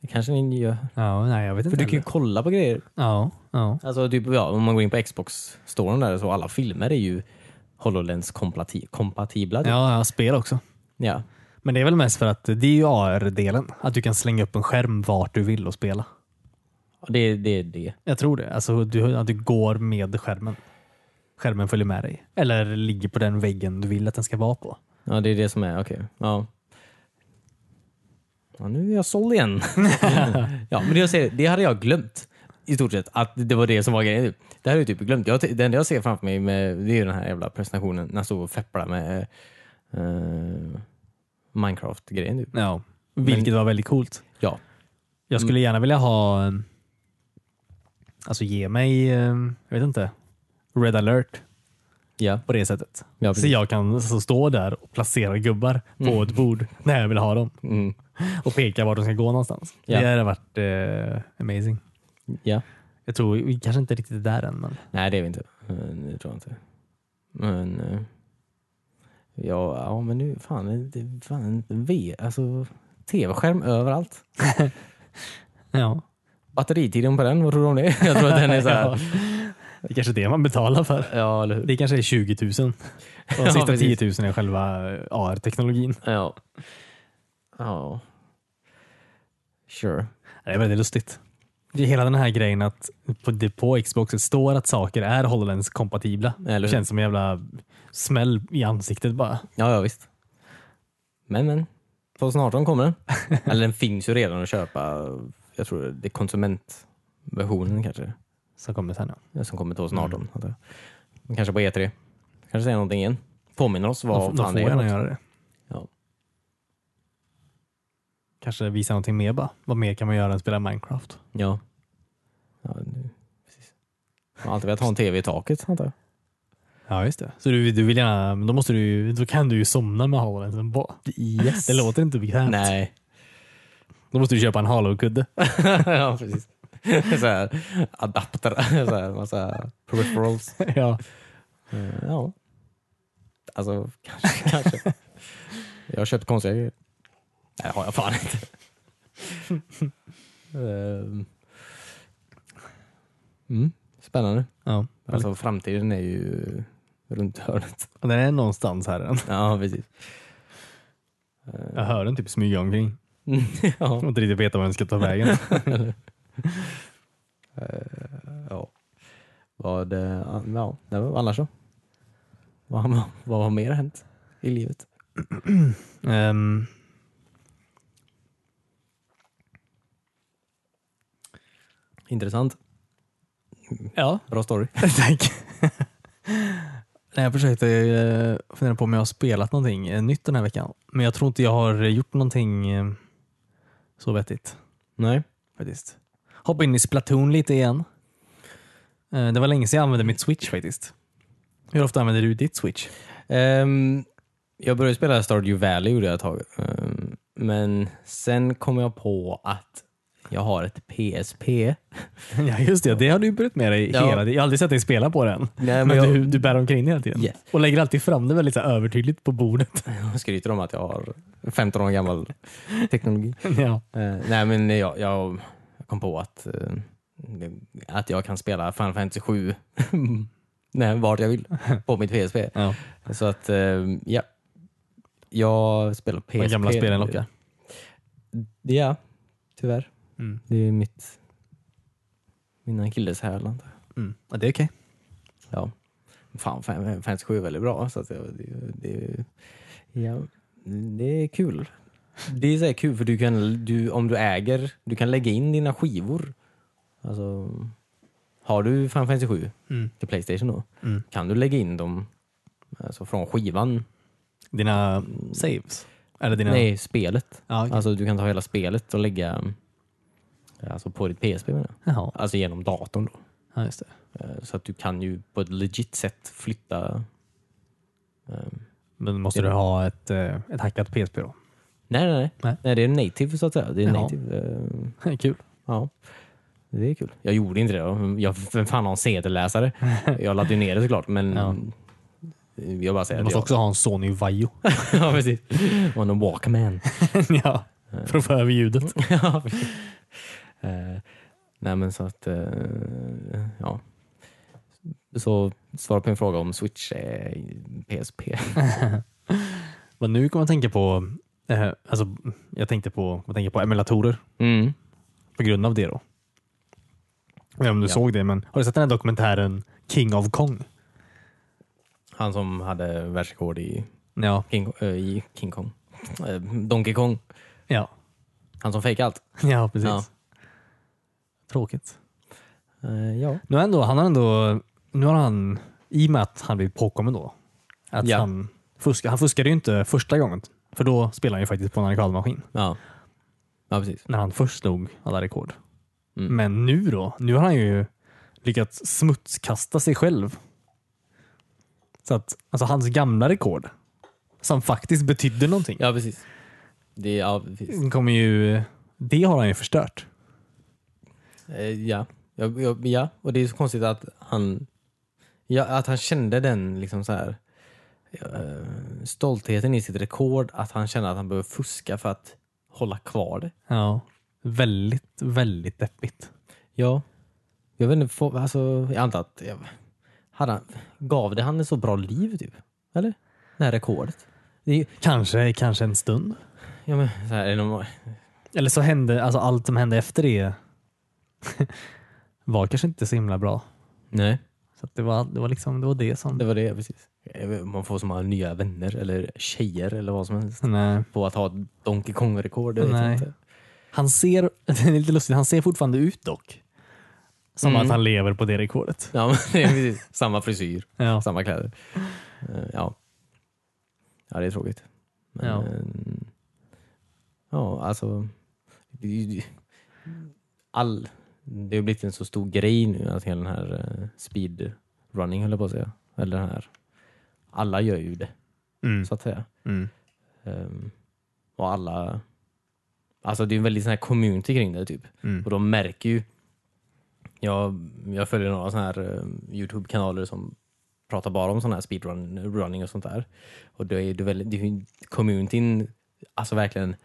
[SPEAKER 2] Det kanske den gör.
[SPEAKER 1] Ja, nej, jag vet
[SPEAKER 2] För du kan ju kolla på grejer.
[SPEAKER 1] Ja, ja.
[SPEAKER 2] Alltså, typ, ja, om man går in på Xbox-storen där så alla filmer är ju HoloLens-kompatibla. typ.
[SPEAKER 1] ja, ja, spel också.
[SPEAKER 2] ja.
[SPEAKER 1] Men det är väl mest för att det är ju AR-delen. Att du kan slänga upp en skärm vart du vill och spela.
[SPEAKER 2] Det är det, är det.
[SPEAKER 1] Jag tror det. Alltså du, att du går med skärmen. Skärmen följer med dig. Eller ligger på den väggen du vill att den ska vara på.
[SPEAKER 2] Ja, det är det som är. Okej. Ja. ja. Nu är jag såld igen. ja, men det, jag säger, det hade jag glömt. I stort sett. Att det var det som var grejen. Typ. Det hade jag typ glömt. Jag, det enda jag ser framför mig med, det är ju den här jävla presentationen. När jag stod och fepplade med eh, Minecraft-grejen. Typ.
[SPEAKER 1] Ja. Vilket var väldigt coolt.
[SPEAKER 2] Ja.
[SPEAKER 1] Jag
[SPEAKER 2] Mm.
[SPEAKER 1] skulle gärna vilja ha... eh, Alltså ge mig, eh, jag vet inte, red alert
[SPEAKER 2] Ja.
[SPEAKER 1] på det sättet. så
[SPEAKER 2] Ja, precis.
[SPEAKER 1] jag kan alltså stå där och placera gubbar på ett bord när jag vill ha dem
[SPEAKER 2] Mm.
[SPEAKER 1] och peka vart de ska gå någonstans.
[SPEAKER 2] Ja.
[SPEAKER 1] Det hade varit eh, amazing.
[SPEAKER 2] ja.
[SPEAKER 1] Jag tror vi kanske inte riktigt är där än. Men...
[SPEAKER 2] Nej, det är vi inte. Eh, Det tror jag inte. Men... eh, Ja, ja men nu, fan, det, fan, V, alltså tv-skärm överallt.
[SPEAKER 1] Ja.
[SPEAKER 2] Batteritiden på den, vad tror du om det? Jag tror att den är så här,
[SPEAKER 1] Det är kanske är det man betalar för.
[SPEAKER 2] ja, eller hur?
[SPEAKER 1] Det kanske är 20 000. Och de
[SPEAKER 2] Ja,
[SPEAKER 1] sista
[SPEAKER 2] precis.
[SPEAKER 1] 10 000 är själva eh, AR-teknologin.
[SPEAKER 2] Ja. Ja. Sure.
[SPEAKER 1] Det är väldigt lustigt. Det är hela den här grejen att på, det på Xboxet står att saker är HoloLens-kompatibla.
[SPEAKER 2] Eller hur?
[SPEAKER 1] känns som en jävla smäll i ansiktet bara.
[SPEAKER 2] Ja, ja visst. Men, men. 2018 kommer den. Eller den finns ju redan att köpa. Jag tror det är konsumentversionen kanske
[SPEAKER 1] Som kommer sen. Ja.
[SPEAKER 2] som kommer 2018.
[SPEAKER 1] Mm.
[SPEAKER 2] antar jag. Men Kanske på E3. Kanske säga någonting igen. Påminner oss vad
[SPEAKER 1] de, de
[SPEAKER 2] fan
[SPEAKER 1] får
[SPEAKER 2] det är.
[SPEAKER 1] gärna
[SPEAKER 2] något.
[SPEAKER 1] göra det.
[SPEAKER 2] Ja.
[SPEAKER 1] Kanske visa någonting mer bara. Vad mer kan man göra än spela Minecraft?
[SPEAKER 2] Ja. ja nu, precis. Man har alltid velat ha en TV i taket antar jag.
[SPEAKER 1] Ja, just det. Så du, du vill gärna, men då, måste du, ju- då kan du ju somna med HoloLensen på.
[SPEAKER 2] Yes.
[SPEAKER 1] Det låter inte bekvämt.
[SPEAKER 2] Nej.
[SPEAKER 1] Då måste du köpa en Halo-kudde.
[SPEAKER 2] ja, precis. så här, adapter, så här, massa peripherals.
[SPEAKER 1] ja.
[SPEAKER 2] Eh, Ja. Alltså, kanske. kanske. Jag har köpt konstiga grejer. Nej, det har jag fan inte. Ehm. mm, spännande.
[SPEAKER 1] ja.
[SPEAKER 2] Alltså, framtiden är ju runt hörnet.
[SPEAKER 1] Och Den är någonstans här än.
[SPEAKER 2] Ja, precis.
[SPEAKER 1] Jag hör den typ smyga omkring.
[SPEAKER 2] Eh, ja.
[SPEAKER 1] Och inte riktigt veta var den ska ta vägen.
[SPEAKER 2] Ja. Vad, eh, ja, det var annars så. Vad, vad, vad har mer hänt i livet?
[SPEAKER 1] Ehm.
[SPEAKER 2] Intressant.
[SPEAKER 1] ja,
[SPEAKER 2] Bra story.
[SPEAKER 1] tack. Nej, jag försökte eh, fundera på om jag har spelat någonting eh, nytt den här veckan. Men jag tror inte jag har gjort någonting eh, så vettigt.
[SPEAKER 2] Nej.
[SPEAKER 1] faktiskt. Hoppa in i Splatoon lite igen. Eh, Det var länge sedan jag använde mitt switch faktiskt. Hur ofta använder du ditt switch?
[SPEAKER 2] Ehm, jag började spela Stardew Valley gjorde jag ett tag. Ehm, men sen kom jag på att jag har ett PSP.
[SPEAKER 1] Ja just det, det har du brytt med dig
[SPEAKER 2] Ja.
[SPEAKER 1] hela tiden. Jag har aldrig sett dig spela på den.
[SPEAKER 2] Nej,
[SPEAKER 1] Men, du, du bär omkring hela tiden.
[SPEAKER 2] Yes.
[SPEAKER 1] Och lägger alltid fram det väldigt så här övertydligt på bordet.
[SPEAKER 2] jag skryter om att jag har 15 år gammal teknologi.
[SPEAKER 1] ja.
[SPEAKER 2] Eh, nej, men jag, jag kom på att, eh, att jag kan spela Final Fantasy 7 när, vart jag vill på mitt PSP.
[SPEAKER 1] Ja.
[SPEAKER 2] Så att, eh, ja. Jag spelar PSP.
[SPEAKER 1] De gamla spelen lockar.
[SPEAKER 2] Ja, tyvärr.
[SPEAKER 1] Mm.
[SPEAKER 2] Det är mitt mina akilleshäl. antar jag.
[SPEAKER 1] Mm. Ja, det är okej.
[SPEAKER 2] Ja. Fan, Final Fantasy 7 är väldigt bra. Så att jag- det, det, ja, det är kul. Det är så här kul för du kan, du, om du äger, du kan lägga in dina skivor. Alltså, har du Final Fantasy 7
[SPEAKER 1] Mm.
[SPEAKER 2] till Playstation då,
[SPEAKER 1] Mm.
[SPEAKER 2] kan du lägga in dem alltså från skivan.
[SPEAKER 1] Dina saves? Eller dina...
[SPEAKER 2] Nej, spelet.
[SPEAKER 1] Ja, okej.
[SPEAKER 2] Alltså du kan ta hela spelet och lägga alltså, på ditt PSP menar jag.
[SPEAKER 1] Jaha.
[SPEAKER 2] Alltså genom datorn då.
[SPEAKER 1] Ja, just det.
[SPEAKER 2] Eh, Så att du kan ju på ett legit sätt flytta... ehm,
[SPEAKER 1] Men måste du ha ett, eh, ett hackat PSP då?
[SPEAKER 2] Nej, nej, nej,
[SPEAKER 1] Nej.
[SPEAKER 2] nej. det är native så att säga. Det är
[SPEAKER 1] Jaha.
[SPEAKER 2] native. ehm,
[SPEAKER 1] Kul.
[SPEAKER 2] ja. Det är kul. Jag gjorde inte det. då. Jag, vem fan har en CD-läsare? Jag laddade ju ner det såklart, men
[SPEAKER 1] Ja.
[SPEAKER 2] jag bara säger
[SPEAKER 1] Du
[SPEAKER 2] att
[SPEAKER 1] måste
[SPEAKER 2] jag...
[SPEAKER 1] också ha en Sony Vaio.
[SPEAKER 2] ja, precis. On a Walkman.
[SPEAKER 1] ja. För att få över ljudet.
[SPEAKER 2] ja, precis. Eh, nej, men så att... eh, ja. Så svar på en fråga om Switch är PSP.
[SPEAKER 1] Vad nu kommer jag tänka på, eh, alltså, jag tänkte på, jag tänker på emulatorer
[SPEAKER 2] Mm.
[SPEAKER 1] på grund av det då. Jag vet inte om du
[SPEAKER 2] Ja.
[SPEAKER 1] såg det, men har du sett den här dokumentären King of Kong?
[SPEAKER 2] Han som hade världsrekord i
[SPEAKER 1] Ja.
[SPEAKER 2] King, eh, i King Kong. Eh, Donkey Kong.
[SPEAKER 1] Ja,
[SPEAKER 2] Han som fejkade allt.
[SPEAKER 1] ja precis.
[SPEAKER 2] Ja.
[SPEAKER 1] Tråkigt.
[SPEAKER 2] Eh, ja.
[SPEAKER 1] Nu, har ändå, han har ändå, nu har han, i och med att han blev påkommen då, att
[SPEAKER 2] Ja.
[SPEAKER 1] han, fuska, han fuskade ju inte första gången. För då spelade han ju faktiskt på en arkadmaskin
[SPEAKER 2] Ja, ja precis.
[SPEAKER 1] när han först slog alla rekord.
[SPEAKER 2] Mm.
[SPEAKER 1] Men nu då? Nu har han ju lyckats smutskasta sig själv. Så att, alltså hans gamla rekord, som faktiskt betydde någonting,
[SPEAKER 2] Ja, precis. Det, ja, precis.
[SPEAKER 1] kommer ju, det har han ju förstört.
[SPEAKER 2] Eh, ja. Ja, ja, ja, och det är så konstigt att han, ja, att han kände den liksom så här, eh, stoltheten i sitt rekord, att han kände att han behöver fuska för att hålla kvar det.
[SPEAKER 1] Ja. Väldigt, väldigt deppigt.
[SPEAKER 2] Ja. Jag vet inte, få- alltså, jag antar att, jag, hade han, gav det han ett så bra liv typ? Eller? Det här rekordet? Det är, ju-
[SPEAKER 1] Kanske, kanske en stund.
[SPEAKER 2] ja, men, så här, är det någon,
[SPEAKER 1] Eller så hände, alltså allt som hände efter det var kanske inte så himla bra.
[SPEAKER 2] nej.
[SPEAKER 1] Så att det, var, det var liksom, det var det som...
[SPEAKER 2] Det var det, precis. Jag vet, Man får så många nya vänner eller tjejer eller vad som helst
[SPEAKER 1] Nej.
[SPEAKER 2] på att ha ett Donkey Kong-rekord. det vet jag
[SPEAKER 1] Nej.
[SPEAKER 2] inte.
[SPEAKER 1] Han ser, det är lite lustigt, han ser fortfarande ut dock. Som
[SPEAKER 2] Mm.
[SPEAKER 1] att han lever på det rekordet.
[SPEAKER 2] Ja, men det är precis. Samma frisyr,
[SPEAKER 1] Ja.
[SPEAKER 2] samma kläder. Eh, Ja, ja det är tråkigt. Men,
[SPEAKER 1] Ja.
[SPEAKER 2] ja. ja, alltså. det är ju- All, det har blivit en så stor grej nu att hela den här eh, speedrunning, höll jag på att säga. Eller den här. Alla gör ju det,
[SPEAKER 1] Mm.
[SPEAKER 2] så att säga.
[SPEAKER 1] Mm.
[SPEAKER 2] Ehm, och alla... Alltså det är en väldigt sån här community kring det typ.
[SPEAKER 1] Mm.
[SPEAKER 2] Och de märker ju... Jag, jag följer några såna här ehm, Youtube-kanaler som pratar bara om sån här speedrun running och sånt där. Och det är det är väldigt... Det är, ju- communityn alltså verkligen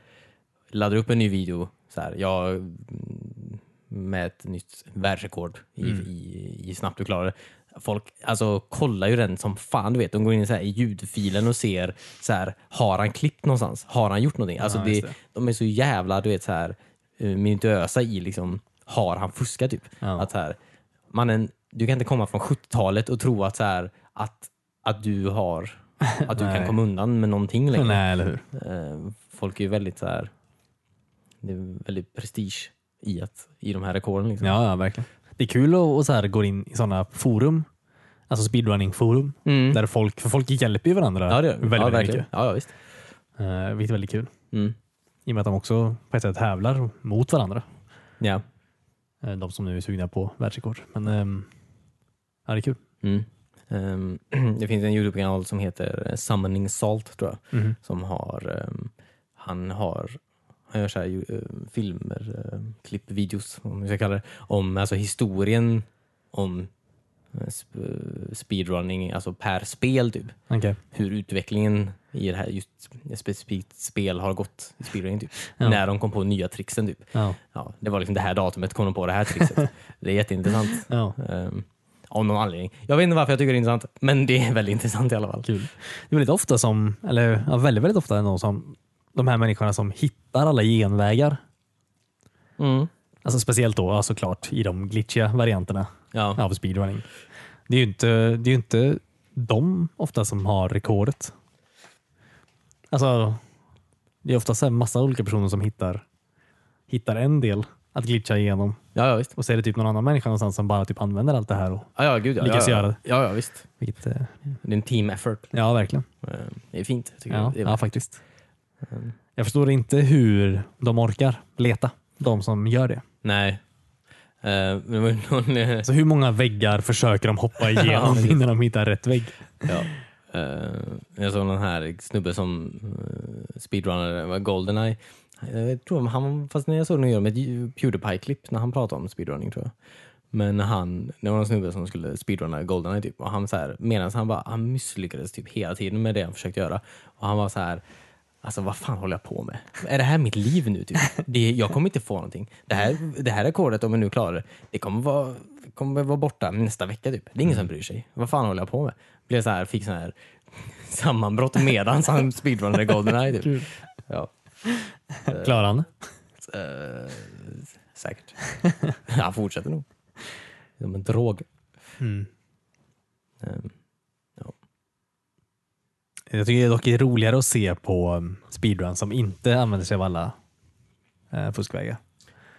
[SPEAKER 2] laddar upp en ny video så här. Jag mm, med ett nytt världsrekord i,
[SPEAKER 1] Mm.
[SPEAKER 2] i, i snabbt du klarar det. Folk alltså, kollar ju den som fan, du vet. De går in i så här, i ljudfilen och ser, så här, har han klippt någonstans? Har han gjort någonting? Alltså,
[SPEAKER 1] Ja,
[SPEAKER 2] det,
[SPEAKER 1] just det.
[SPEAKER 2] De är så jävla du vet, så här, eh, minutiösa i liksom, har han fuskat typ?
[SPEAKER 1] Ja.
[SPEAKER 2] Att, så här, mannen, du kan inte komma från 70-talet och tro att, så här, att, att du har att du kan
[SPEAKER 1] Nej.
[SPEAKER 2] komma undan med någonting längre.
[SPEAKER 1] Nej, eller hur?
[SPEAKER 2] Eh, folk är ju väldigt så här, det är väldigt prestige i, att, i de här rekorden. Liksom.
[SPEAKER 1] Ja, ja, verkligen. Det är kul att och så här, gå in i sådana forum, alltså speedrunning-forum,
[SPEAKER 2] Mm.
[SPEAKER 1] där folk, för folk hjälper ju varandra
[SPEAKER 2] Ja, det,
[SPEAKER 1] väldigt,
[SPEAKER 2] ja,
[SPEAKER 1] väldigt
[SPEAKER 2] verkligen.
[SPEAKER 1] mycket.
[SPEAKER 2] Ja, ja, visst.
[SPEAKER 1] Eh, vilket är väldigt kul.
[SPEAKER 2] Mm.
[SPEAKER 1] I och med att de också på ett sätt tävlar mot varandra.
[SPEAKER 2] Ja.
[SPEAKER 1] Eh, De som nu är sugna på världsrekord. Men ehm, ja, det är kul.
[SPEAKER 2] Mm. Ehm, det finns en Youtube-kanal som heter eh, Summoning Salt tror jag. Som har, ehm, han har, han gör så här, ju- ehm, filmer, um, klipp, videos om vi ska kalla det, om alltså historien om eh, sp- speedrunning, alltså per spel typ.
[SPEAKER 1] Okej.
[SPEAKER 2] Hur utvecklingen i det här just specifikt spel har gått i speedrunning typ.
[SPEAKER 1] Ja.
[SPEAKER 2] När de kom på nya tricksen typ.
[SPEAKER 1] Ja.
[SPEAKER 2] Ja, det var liksom det här datumet kom de på det här trickset. det är jätteintressant.
[SPEAKER 1] Ja.
[SPEAKER 2] Ehm, av någon anledning. Jag vet inte varför jag tycker det är intressant, men det är väldigt intressant i alla fall.
[SPEAKER 1] Kul. Det är väldigt ofta som, eller ja, väldigt, väldigt ofta är det någon som, de här människorna som hittar alla genvägar. Alltså speciellt då ja, såklart i de glitchiga varianterna
[SPEAKER 2] Ja.
[SPEAKER 1] av speedrunning. Det är ju inte, det är ju inte de ofta som har rekordet. Alltså, det är oftast en massa olika personer som hittar, hittar en del att glitcha igenom
[SPEAKER 2] Ja, ja, visst.
[SPEAKER 1] och så är det typ någon annan människa någonstans som bara typ använder allt det här. Och,
[SPEAKER 2] Ja, ja, gud ja.
[SPEAKER 1] Lyckas
[SPEAKER 2] ja, ja.
[SPEAKER 1] göra det.
[SPEAKER 2] Ja, ja, visst.
[SPEAKER 1] vilket, eh,
[SPEAKER 2] Det är en team effort.
[SPEAKER 1] ja, verkligen.
[SPEAKER 2] Ehm, Det är fint. Tycker
[SPEAKER 1] Ja,
[SPEAKER 2] jag. Det är
[SPEAKER 1] ja, faktiskt.
[SPEAKER 2] Mm.
[SPEAKER 1] Jag förstår inte hur de orkar leta, de som gör det.
[SPEAKER 2] Nej. Ehm, det var ju någon... eh,
[SPEAKER 1] Alltså hur många väggar försöker de hoppa igenom innan de hittar rätt vägg?
[SPEAKER 2] ja. Ehm, jag såg den här snubbe som eh, speedrunnade det var Goldeneye. Jag tror han, fast när jag såg honom göra ett Pewdiepie-klipp när han pratade om speedrunning tror jag. Men han, det var någon snubbe som skulle speedrunna Goldeneye typ och han så här, medan han bara, han misslyckades typ hela tiden med det han försökte göra. Och han var så här, alltså vad fan håller jag på med? Är det här mitt liv nu typ? Det, jag kommer inte få någonting. Det här, det här rekordet, om jag nu klarar det, det kommer vara, kommer vara borta nästa vecka typ. Det är ingen som bryr sig. Vad fan håller jag på med? Blev så här, fick sån här sammanbrott medan han speedrunnade Goldeneye typ. Ja, Ehm.
[SPEAKER 1] Klarar han det?
[SPEAKER 2] eh, säkert. Han fortsätter nog. Som en drog. Mm. Eh,
[SPEAKER 1] Jag tycker dock det är roligare att se på um, speedrun som inte använder sig av alla eh, fuskvägar.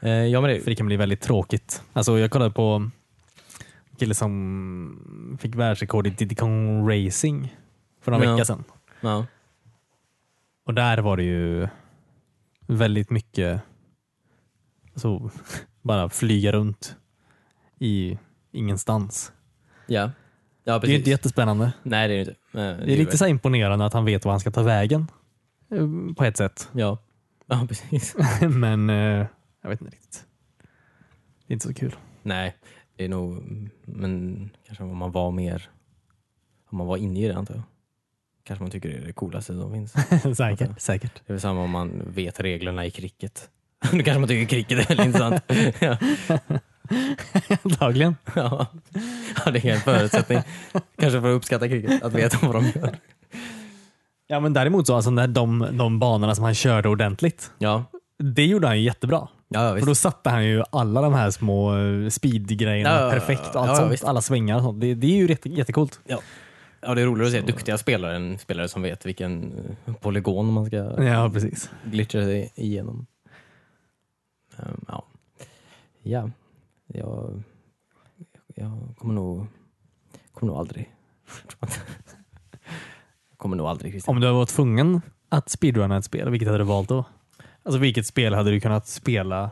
[SPEAKER 2] Eh, ja men det,
[SPEAKER 1] För det kan bli väldigt tråkigt. Alltså jag kollade på en kille som fick världsrekord i Diddy Kong Racing för några
[SPEAKER 2] Ja.
[SPEAKER 1] vecka sedan.
[SPEAKER 2] ja.
[SPEAKER 1] Och där var det ju väldigt mycket alltså, bara flyga runt i ingenstans.
[SPEAKER 2] Ja,
[SPEAKER 1] Det
[SPEAKER 2] ja
[SPEAKER 1] är ju
[SPEAKER 2] precis.
[SPEAKER 1] inte jättespännande.
[SPEAKER 2] Nej det är det inte. Eh,
[SPEAKER 1] Det är lite så här imponerande att han vet var han ska ta vägen eh, på ett sätt.
[SPEAKER 2] Ja. ja, precis.
[SPEAKER 1] Men eh, jag vet inte riktigt. Det är inte så kul.
[SPEAKER 2] Nej, det är nog, men kanske om man var mer, om man var inne i det antar jag. Kanske man tycker det är det coolaste som finns.
[SPEAKER 1] säkert. säkert.
[SPEAKER 2] Det är väl samma om man vet reglerna i cricket. Då kanske man tycker cricket är väldigt intressant. ja,
[SPEAKER 1] Antagligen.
[SPEAKER 2] ja. ja, det är en förutsättning. Kanske för att uppskatta cricket, att veta vad de gör.
[SPEAKER 1] Ja, men däremot så, alltså, när de, de banorna som han körde ordentligt,
[SPEAKER 2] Ja,
[SPEAKER 1] det gjorde han ju jättebra.
[SPEAKER 2] ja, ja
[SPEAKER 1] För
[SPEAKER 2] visst.
[SPEAKER 1] då satte han ju alla de här små eh, speedgrejerna
[SPEAKER 2] Ja, ja, ja,
[SPEAKER 1] perfekt. Och allt
[SPEAKER 2] ja, ja,
[SPEAKER 1] sånt,
[SPEAKER 2] visst.
[SPEAKER 1] alla svängar och sånt. Det, det är ju jätte, jättecoolt.
[SPEAKER 2] Ja. Ja, det är roligare att se duktiga spelare än spelare som vet vilken eh, polygon man ska
[SPEAKER 1] Ja, precis.
[SPEAKER 2] glitchar sig igenom. Ehm, ja. ja, jag, jag kommer nog, kommer nog aldrig. Jag kommer nog aldrig Christian.
[SPEAKER 1] Om du hade varit tvungen att speedrunna ett spel, vilket hade du valt då? Alltså vilket spel hade du kunnat spela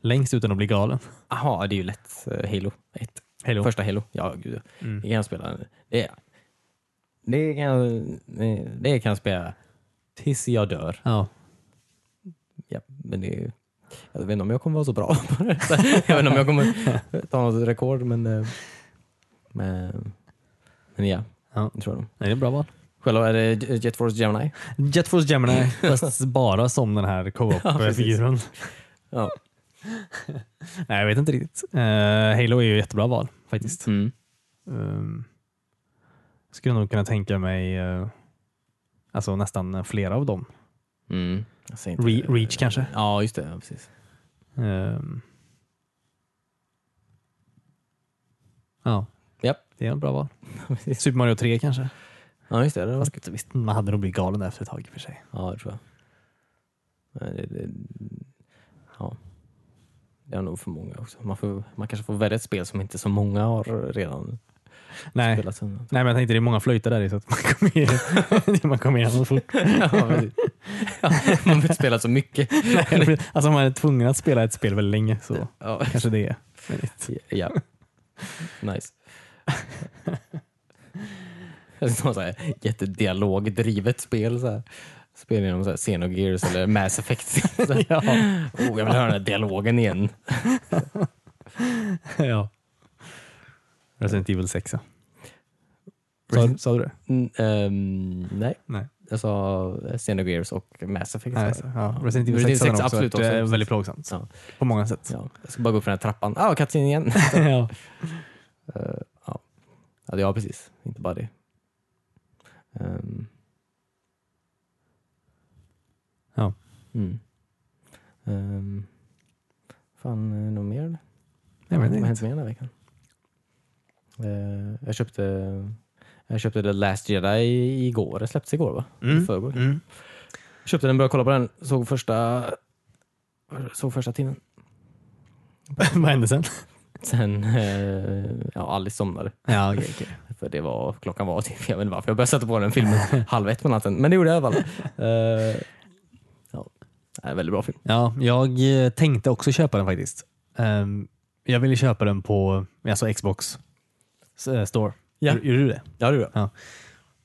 [SPEAKER 1] längst utan att bli galen?
[SPEAKER 2] Jaha, det är ju lätt. eh, Halo 1.
[SPEAKER 1] Halo.
[SPEAKER 2] Första Halo. Ja, gud. ja.
[SPEAKER 1] Mm.
[SPEAKER 2] Det kan jag spela. Det, det, kan jag, det kan jag spela tills jag dör.
[SPEAKER 1] Ja.
[SPEAKER 2] Ja, men det, är- jag vet inte om jag kommer vara så bra på det. Jag vet inte om jag kommer ta något rekord, men, eh, men, men ja,
[SPEAKER 1] Ja.
[SPEAKER 2] det tror jag nog.
[SPEAKER 1] Nej, det är ett bra val.
[SPEAKER 2] Själv är det J- Jet Force Gemini.
[SPEAKER 1] Jet Force Gemini, fast bara som den här
[SPEAKER 2] Ja, precis.
[SPEAKER 1] co-op-figuren.
[SPEAKER 2] Ja.
[SPEAKER 1] Nej, jag vet inte riktigt. Eh, Halo är ju ett jättebra val faktiskt.
[SPEAKER 2] Mm.
[SPEAKER 1] Um, skulle nog kunna tänka mig eh, alltså nästan flera av dem.
[SPEAKER 2] Mm. Jag säger inte-
[SPEAKER 1] Re- Reach kanske?
[SPEAKER 2] Ja, just det. Ja, precis.
[SPEAKER 1] Ehm. Ja,
[SPEAKER 2] Japp.
[SPEAKER 1] det är en bra val. Super Mario 3 kanske?
[SPEAKER 2] Ja, just det. det var...
[SPEAKER 1] Fast, visst, man hade nog blivit galen där efter ett tag i och för sig.
[SPEAKER 2] Ja, det tror jag. Men det, det, ja. det är nog för många också. Man, får, man kanske får välja ett spel som inte så många har redan
[SPEAKER 1] Nej.
[SPEAKER 2] spelat. innan.
[SPEAKER 1] Nej, men jag tänkte det är många flöjter där i så att man kommer igen, man kommer alltså igen så fort.
[SPEAKER 2] ja, precis. ja, man har inte spelat så mycket.
[SPEAKER 1] Alltså om man är tvungen att spela ett spel väldigt länge så
[SPEAKER 2] Ja.
[SPEAKER 1] kanske det är.
[SPEAKER 2] Ja. Nice. Det är något så här jättedialogdrivet spel. Så här. Spel genom så här Xenogears eller Mass Effect. Så här.
[SPEAKER 1] Ja.
[SPEAKER 2] Oh, jag vill höra den här dialogen igen.
[SPEAKER 1] ja. Resident Evil 6. ja. Sa, sa du det?
[SPEAKER 2] Mm, ehm, nej,
[SPEAKER 1] Nej.
[SPEAKER 2] jag sa Xenogears och Mass Effect.
[SPEAKER 1] Nej,
[SPEAKER 2] så.
[SPEAKER 1] så, ja. Resident Evil 6,
[SPEAKER 2] Resident 6
[SPEAKER 1] har också
[SPEAKER 2] absolut
[SPEAKER 1] varit,
[SPEAKER 2] också.
[SPEAKER 1] eh, väldigt plågsamt.
[SPEAKER 2] Ja.
[SPEAKER 1] På många sätt.
[SPEAKER 2] Ja, jag ska bara gå upp för den här trappan. Ah, Katrin igen.
[SPEAKER 1] ja.
[SPEAKER 2] Eh, ja. Ja, ja, precis. Inte bara det. Ehm.
[SPEAKER 1] Ja.
[SPEAKER 2] Mm. Ehm. Fan, är det något mer? eller?
[SPEAKER 1] Jag vet
[SPEAKER 2] Vad har
[SPEAKER 1] inte.
[SPEAKER 2] hänt mer den här veckan? Eh, jag köpte jag köpte The Last Jedi igår. Det släpptes igår va? I
[SPEAKER 1] Mm.
[SPEAKER 2] förrgår.
[SPEAKER 1] Mm.
[SPEAKER 2] Köpte den, började kolla på den. Såg första, såg första timmen.
[SPEAKER 1] Vad hände sen?
[SPEAKER 2] Sen, eh, ja Alice somnade.
[SPEAKER 1] Ja, okej. okej.
[SPEAKER 2] För det var, klockan var typ, jag vet inte varför jag började sätta på den filmen halv ett på natten. Men det gjorde jag i alla fall. Eh, ja. Det är en väldigt bra film.
[SPEAKER 1] Ja, jag eh, tänkte också köpa den faktiskt. Ehm, jag ville köpa den på alltså Xbox s- eh, store.
[SPEAKER 2] Ja.
[SPEAKER 1] Gjorde gjorde du det?
[SPEAKER 2] Ja, det gjorde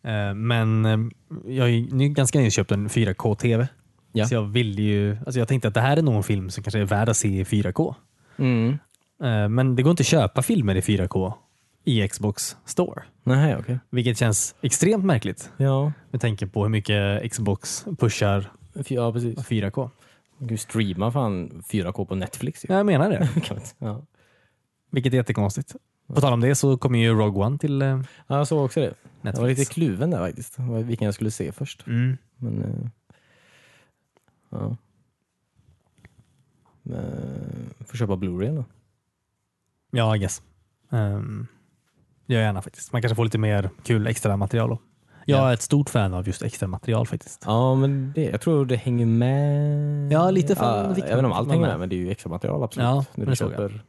[SPEAKER 1] Eh, Men eh, jag har ju nu ganska nyligen köpt en 4K-TV.
[SPEAKER 2] Ja.
[SPEAKER 1] Så jag ville ju, alltså jag tänkte att det här är någon film som kanske är värd att se i 4K.
[SPEAKER 2] Mm.
[SPEAKER 1] Eh, Men det går inte att köpa filmer i 4K i Xbox store.
[SPEAKER 2] Nej, okej.
[SPEAKER 1] Vilket känns extremt märkligt
[SPEAKER 2] Ja.
[SPEAKER 1] med tanke på hur mycket Xbox pushar
[SPEAKER 2] Fy- ja, precis.
[SPEAKER 1] 4K.
[SPEAKER 2] Du streamar fan 4K på Netflix ju.
[SPEAKER 1] Jag menar det,
[SPEAKER 2] Kan man inte- Ja.
[SPEAKER 1] vilket är jättekonstigt. På tal om det så kommer ju Rogue One till eh,
[SPEAKER 2] ja, jag såg också det. Jag var
[SPEAKER 1] Netflix.
[SPEAKER 2] lite kluven där faktiskt. vad- Vilken jag skulle se först.
[SPEAKER 1] Mm.
[SPEAKER 2] Men, eh, ja. Men, får köpa Blu-ray då.
[SPEAKER 1] Ja, I guess. Um, gör gärna faktiskt. Man kanske får lite mer kul extra material då. Jag
[SPEAKER 2] Ja.
[SPEAKER 1] är ett stort fan av just extra material faktiskt.
[SPEAKER 2] Ja, men det, jag tror det hänger med.
[SPEAKER 1] Ja, lite fan
[SPEAKER 2] Ja, jag
[SPEAKER 1] viktigt
[SPEAKER 2] vet inte om allt
[SPEAKER 1] att
[SPEAKER 2] hänger
[SPEAKER 1] vara
[SPEAKER 2] med,
[SPEAKER 1] med.
[SPEAKER 2] men det är ju extra material absolut.
[SPEAKER 1] Ja,
[SPEAKER 2] när
[SPEAKER 1] men
[SPEAKER 2] du
[SPEAKER 1] det såg jag.
[SPEAKER 2] köper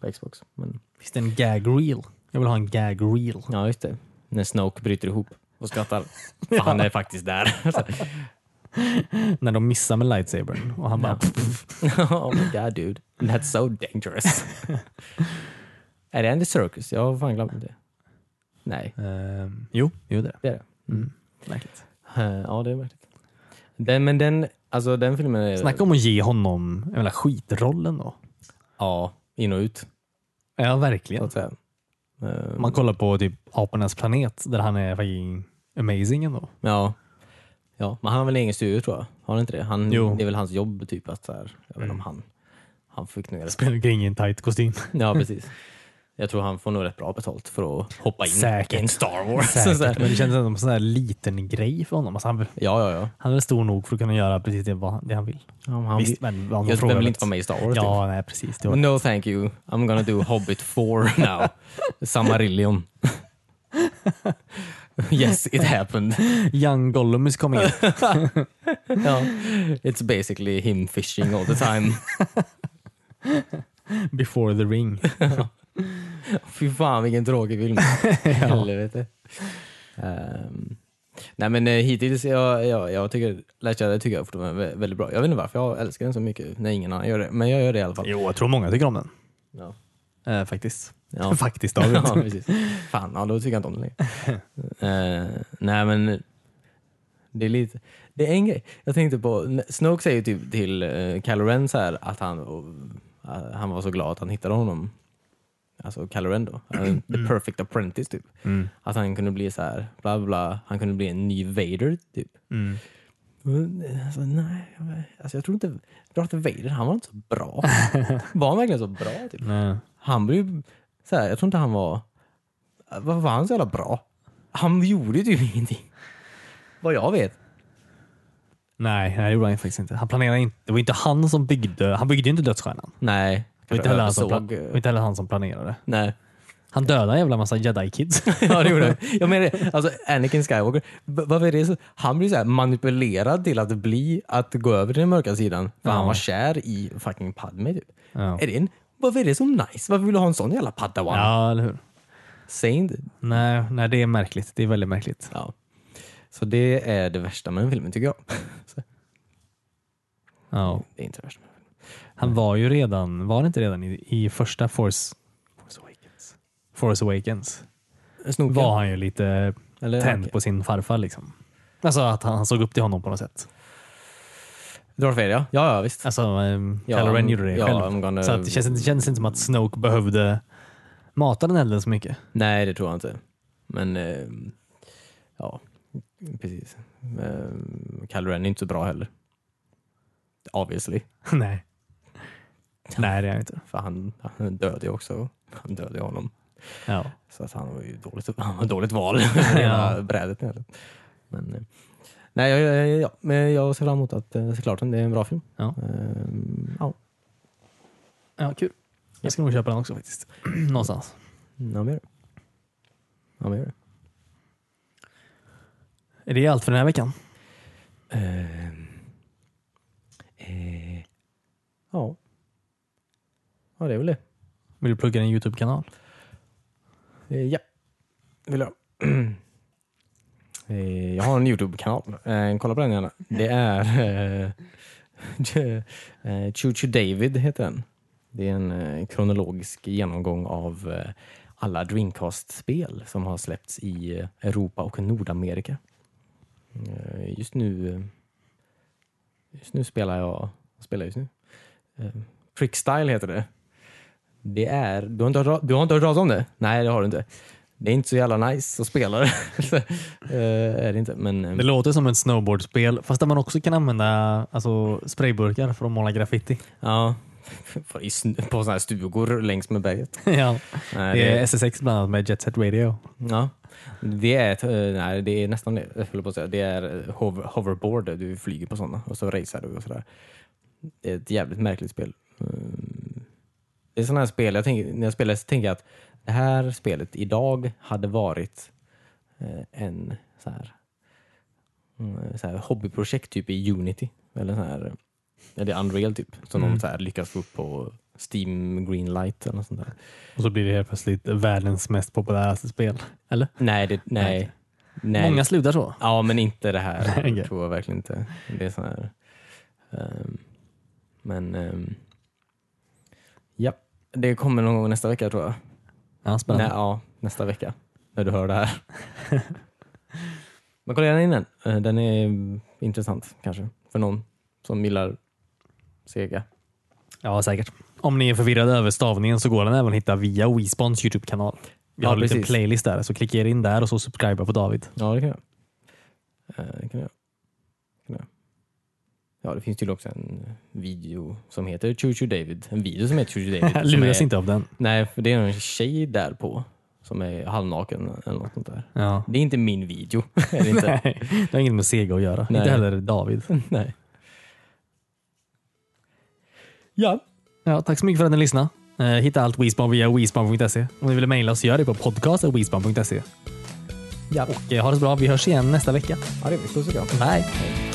[SPEAKER 2] på Xbox. Men,
[SPEAKER 1] Finns det en gag reel? Jag vill ha en gag reel.
[SPEAKER 2] ja, just det. När Snoke bryter ihop och skrattar. För Han är faktiskt där. Så,
[SPEAKER 1] När de missar med lightsabern och han bara...
[SPEAKER 2] oh my god dude, that's so dangerous. är det Andy Circus? Jag har fan glömt det. Nej,
[SPEAKER 1] Ehm, jo, jo det är
[SPEAKER 2] det är det.
[SPEAKER 1] det. Mm. Märkligt.
[SPEAKER 2] Eh, Ja, det är märkligt. Den, men den, alltså den filmen är...
[SPEAKER 1] Snacka om att ge honom jag menar, skitrollen då.
[SPEAKER 2] Ja, in och ut.
[SPEAKER 1] Ja,
[SPEAKER 2] Så
[SPEAKER 1] verkligen.
[SPEAKER 2] att säga. Eh,
[SPEAKER 1] Om Man kollar på typ Apornas planet där han är fucking amazing ändå.
[SPEAKER 2] Ja. ja, men han har väl egen studio tror jag? Har han inte det? Han,
[SPEAKER 1] Jo. Mm.
[SPEAKER 2] det är väl hans jobb typ att så här, jag vet inte om han, han fick nog rätt-
[SPEAKER 1] Spelar omkring i en tight kostym.
[SPEAKER 2] Ja, precis. Jag tror han får nog rätt bra betalt för att hoppa in
[SPEAKER 1] Säkert.
[SPEAKER 2] i en Star Wars. Så här.
[SPEAKER 1] Säkert, men det känns ändå som en sån här liten grej för honom. Alltså han,
[SPEAKER 2] Ja, ja, ja.
[SPEAKER 1] han är stor nog för att kunna göra precis det, vad han, det han vill.
[SPEAKER 2] ja men han,
[SPEAKER 1] Visst, men vad
[SPEAKER 2] jag vem vill inte
[SPEAKER 1] vet.
[SPEAKER 2] vara med i Star Wars?
[SPEAKER 1] Ja, nej precis. Det
[SPEAKER 2] typ?
[SPEAKER 1] var,
[SPEAKER 2] No thank you, I'm gonna do Hobbit 4 now. Samarillion. yes, it happened.
[SPEAKER 1] Young Gollum is coming in.
[SPEAKER 2] Ja. It's basically him fishing all the time.
[SPEAKER 1] Before the ring.
[SPEAKER 2] Fy fan vilken tråkig film. Helvete. Ehm, nej men eh, hittills, jag, jag, jag tycker Last Jedi tycker jag fortfarande är vä- väldigt bra. Jag vet inte varför jag älskar den så mycket när ingen annan gör det. Men jag gör det i alla fall.
[SPEAKER 1] Jo, jag tror många tycker om den.
[SPEAKER 2] Ja.
[SPEAKER 1] Eh, faktiskt.
[SPEAKER 2] Ja.
[SPEAKER 1] faktiskt David.
[SPEAKER 2] ja, precis. Fan, ja, då tycker jag inte om den längre. Eh, nej men, det är lite, det är en grej. Jag tänkte på, Snoke säger ju typ till uh, Kylo Ren så här att han, och, att han var så glad att han hittade honom. Alltså Kylo Ren då. Han- The perfect apprentice typ.
[SPEAKER 1] Mm.
[SPEAKER 2] Att han kunde bli så här, bla bla, bla, han kunde bli en ny Vader typ.
[SPEAKER 1] Mm.
[SPEAKER 2] Och, Alltså, nej, jag- alltså, jag tror inte, jag tror att Vader, han var inte så bra. var han verkligen så bra? Typ?
[SPEAKER 1] Nej.
[SPEAKER 2] Han blev ju, så här, jag tror inte han var, vad var han så jävla bra? Han gjorde ju typ ingenting. Vad jag vet.
[SPEAKER 1] nej, nej, det gjorde han faktiskt inte. Han planerade inte. Det var inte han som byggde. Han byggde ju inte dödsstjärnan.
[SPEAKER 2] Nej.
[SPEAKER 1] Det var inte heller han som, pla- det var
[SPEAKER 2] översåg, eh,
[SPEAKER 1] inte heller han som planerade.
[SPEAKER 2] Nej.
[SPEAKER 1] Han dödade en jävla massa jedi-kids.
[SPEAKER 2] Ja, det gjorde han. Jag menar det. alltså Anakin Skywalker, v- varför är det så? Han blir så här manipulerad till att bli, att gå över till den mörka sidan. För han var kär i fucking Padme typ.
[SPEAKER 1] Ja.
[SPEAKER 2] Är det en, varför är det så nice? Varför vill du ha en sån jävla padawan?
[SPEAKER 1] ja, eller hur?
[SPEAKER 2] Säg inte.
[SPEAKER 1] Nej, nej, det är märkligt. Det är väldigt märkligt.
[SPEAKER 2] Ja. Så det är det värsta med den filmen tycker jag. Så,
[SPEAKER 1] Ja.
[SPEAKER 2] det är inte det värsta med den filmen.
[SPEAKER 1] Han var ju redan, var det inte redan i, i första Force,
[SPEAKER 2] Force Awakens.
[SPEAKER 1] Force Awakens?
[SPEAKER 2] Snoken.
[SPEAKER 1] Var han ju lite
[SPEAKER 2] Eller-
[SPEAKER 1] tänd på sin farfar liksom. Alltså att han, han såg upp till honom på något sätt.
[SPEAKER 2] Darth Vader ja. Ja, ja visst.
[SPEAKER 1] Alltså, um,
[SPEAKER 2] Ja,
[SPEAKER 1] Kylo Ren
[SPEAKER 2] I'm-
[SPEAKER 1] gjorde det
[SPEAKER 2] ja,
[SPEAKER 1] själv.
[SPEAKER 2] I'm gonna-
[SPEAKER 1] Så att det, känns, det känns inte som att Snoke behövde mata den elden så mycket.
[SPEAKER 2] Nej, det tror jag inte. Men eh, ja, precis. Eh, Kylo Ren är inte så bra heller. Obviously.
[SPEAKER 1] Nej. Nej, det är han inte.
[SPEAKER 2] För han, han dödade ju också. Han dödade ju honom.
[SPEAKER 1] Ja.
[SPEAKER 2] Så att han var ju dåligt, han var dåligt val. Hela brädet. egentligen. Men, eh, nej, jag, jag, jag, men jag ser fram emot att eh, se klart den. Det är en bra film.
[SPEAKER 1] Ja.
[SPEAKER 2] Eh, ja,
[SPEAKER 1] ja, kul. Jag ska nog köpa den också faktiskt. Någonstans.
[SPEAKER 2] ja, men gör det. Ja, men gör det.
[SPEAKER 1] Är det allt för den här veckan?
[SPEAKER 2] Ehm. Eh, ja. Ja, det är väl det.
[SPEAKER 1] Vill du plugga din Youtube-kanal?
[SPEAKER 2] Eh, ja, vill jag. Eh, jag har en Youtube-kanal. Eh, kolla på den gärna. Det är eh, eh, Choo Choo David heter den. Det är en eh, kronologisk genomgång av eh, alla Dreamcast-spel som har släppts i eh, Europa och Nordamerika. Eh, just nu eh, Just nu spelar jag, vad spelar jag just nu? Eh, Trickstyle heter det. Det är, du har, inte hört, ra- du har inte hört talas om det? Nej, det har du inte. Det är inte så jävla nice att spela det. Eh, är det inte, men... eh,
[SPEAKER 1] Det låter som ett snowboardspel, fast där man också kan använda alltså, sprayburkar för att måla graffiti.
[SPEAKER 2] Ja. I snö- På sådana här stugor längs med berget.
[SPEAKER 1] ja.
[SPEAKER 2] Nej,
[SPEAKER 1] Det är SSX bland annat med Jet Set Radio.
[SPEAKER 2] ja. det, är ett, eh, nej, det är nästan det, jag höll på att säga. Det är eh, hover, hoverboard, du flyger på sådana och så racear du och sådär. Det är ett jävligt märkligt spel. Mm. Det är sådana här spel, jag tänker, när jag spelar så tänker jag att det här spelet idag hade varit eh, en så här, mm, så här hobbyprojekt typ i Unity. Eller så här, eller Unreal typ, som
[SPEAKER 1] Mm.
[SPEAKER 2] de så här lyckas få upp på Steam Greenlight eller något sånt där.
[SPEAKER 1] Och så blir det helt plötsligt världens mest populära spel. Eller?
[SPEAKER 2] Nej, det, nej.
[SPEAKER 1] Nej.
[SPEAKER 2] nej.
[SPEAKER 1] Många slutar så.
[SPEAKER 2] Ja, men inte det här.
[SPEAKER 1] Nej, okej.
[SPEAKER 2] tror jag verkligen inte. Det är sån här... ehm, men... ehm, ja, det kommer någon gång nästa vecka tror jag.
[SPEAKER 1] Ja,
[SPEAKER 2] Nej,
[SPEAKER 1] spännande.
[SPEAKER 2] ja, nästa vecka. När du hör det här. men kolla gärna in den. Eh, Den är mm, intressant kanske. För någon som gillar Sega.
[SPEAKER 1] Ja, säkert. Om ni är förvirrade över stavningen så går den även att hitta via WeSpons Youtube-kanal. Vi
[SPEAKER 2] Ja,
[SPEAKER 1] har en liten
[SPEAKER 2] precis.
[SPEAKER 1] playlist där, så klicka er in där och så subscriba på David.
[SPEAKER 2] Ja, det kan jag. Eh, det kan jag. Det Kan jag. Ja, det finns tydligen också en video som heter Choo Choo David. En video som heter Choo Choo David. som
[SPEAKER 1] Luras
[SPEAKER 2] är-
[SPEAKER 1] inte av den.
[SPEAKER 2] Nej, för det är en tjej där på som är halvnaken eller något sånt där.
[SPEAKER 1] Ja.
[SPEAKER 2] Det är inte min video. Är det inte?
[SPEAKER 1] Nej, det har inget med Sega att göra.
[SPEAKER 2] Nej.
[SPEAKER 1] Inte heller David.
[SPEAKER 2] Nej. Ja.
[SPEAKER 1] Ja, tack så mycket för att ni lyssnade. Eh, Hitta allt WeSpan via WeSpan.se. Om ni vill mejla oss, gör det på podcast.wespan.se.
[SPEAKER 2] Ja.
[SPEAKER 1] Och eh, ha det så bra. Vi hörs igen nästa vecka.
[SPEAKER 2] ja, det är vi. Puss och kram.
[SPEAKER 1] Bye!
[SPEAKER 2] Hej.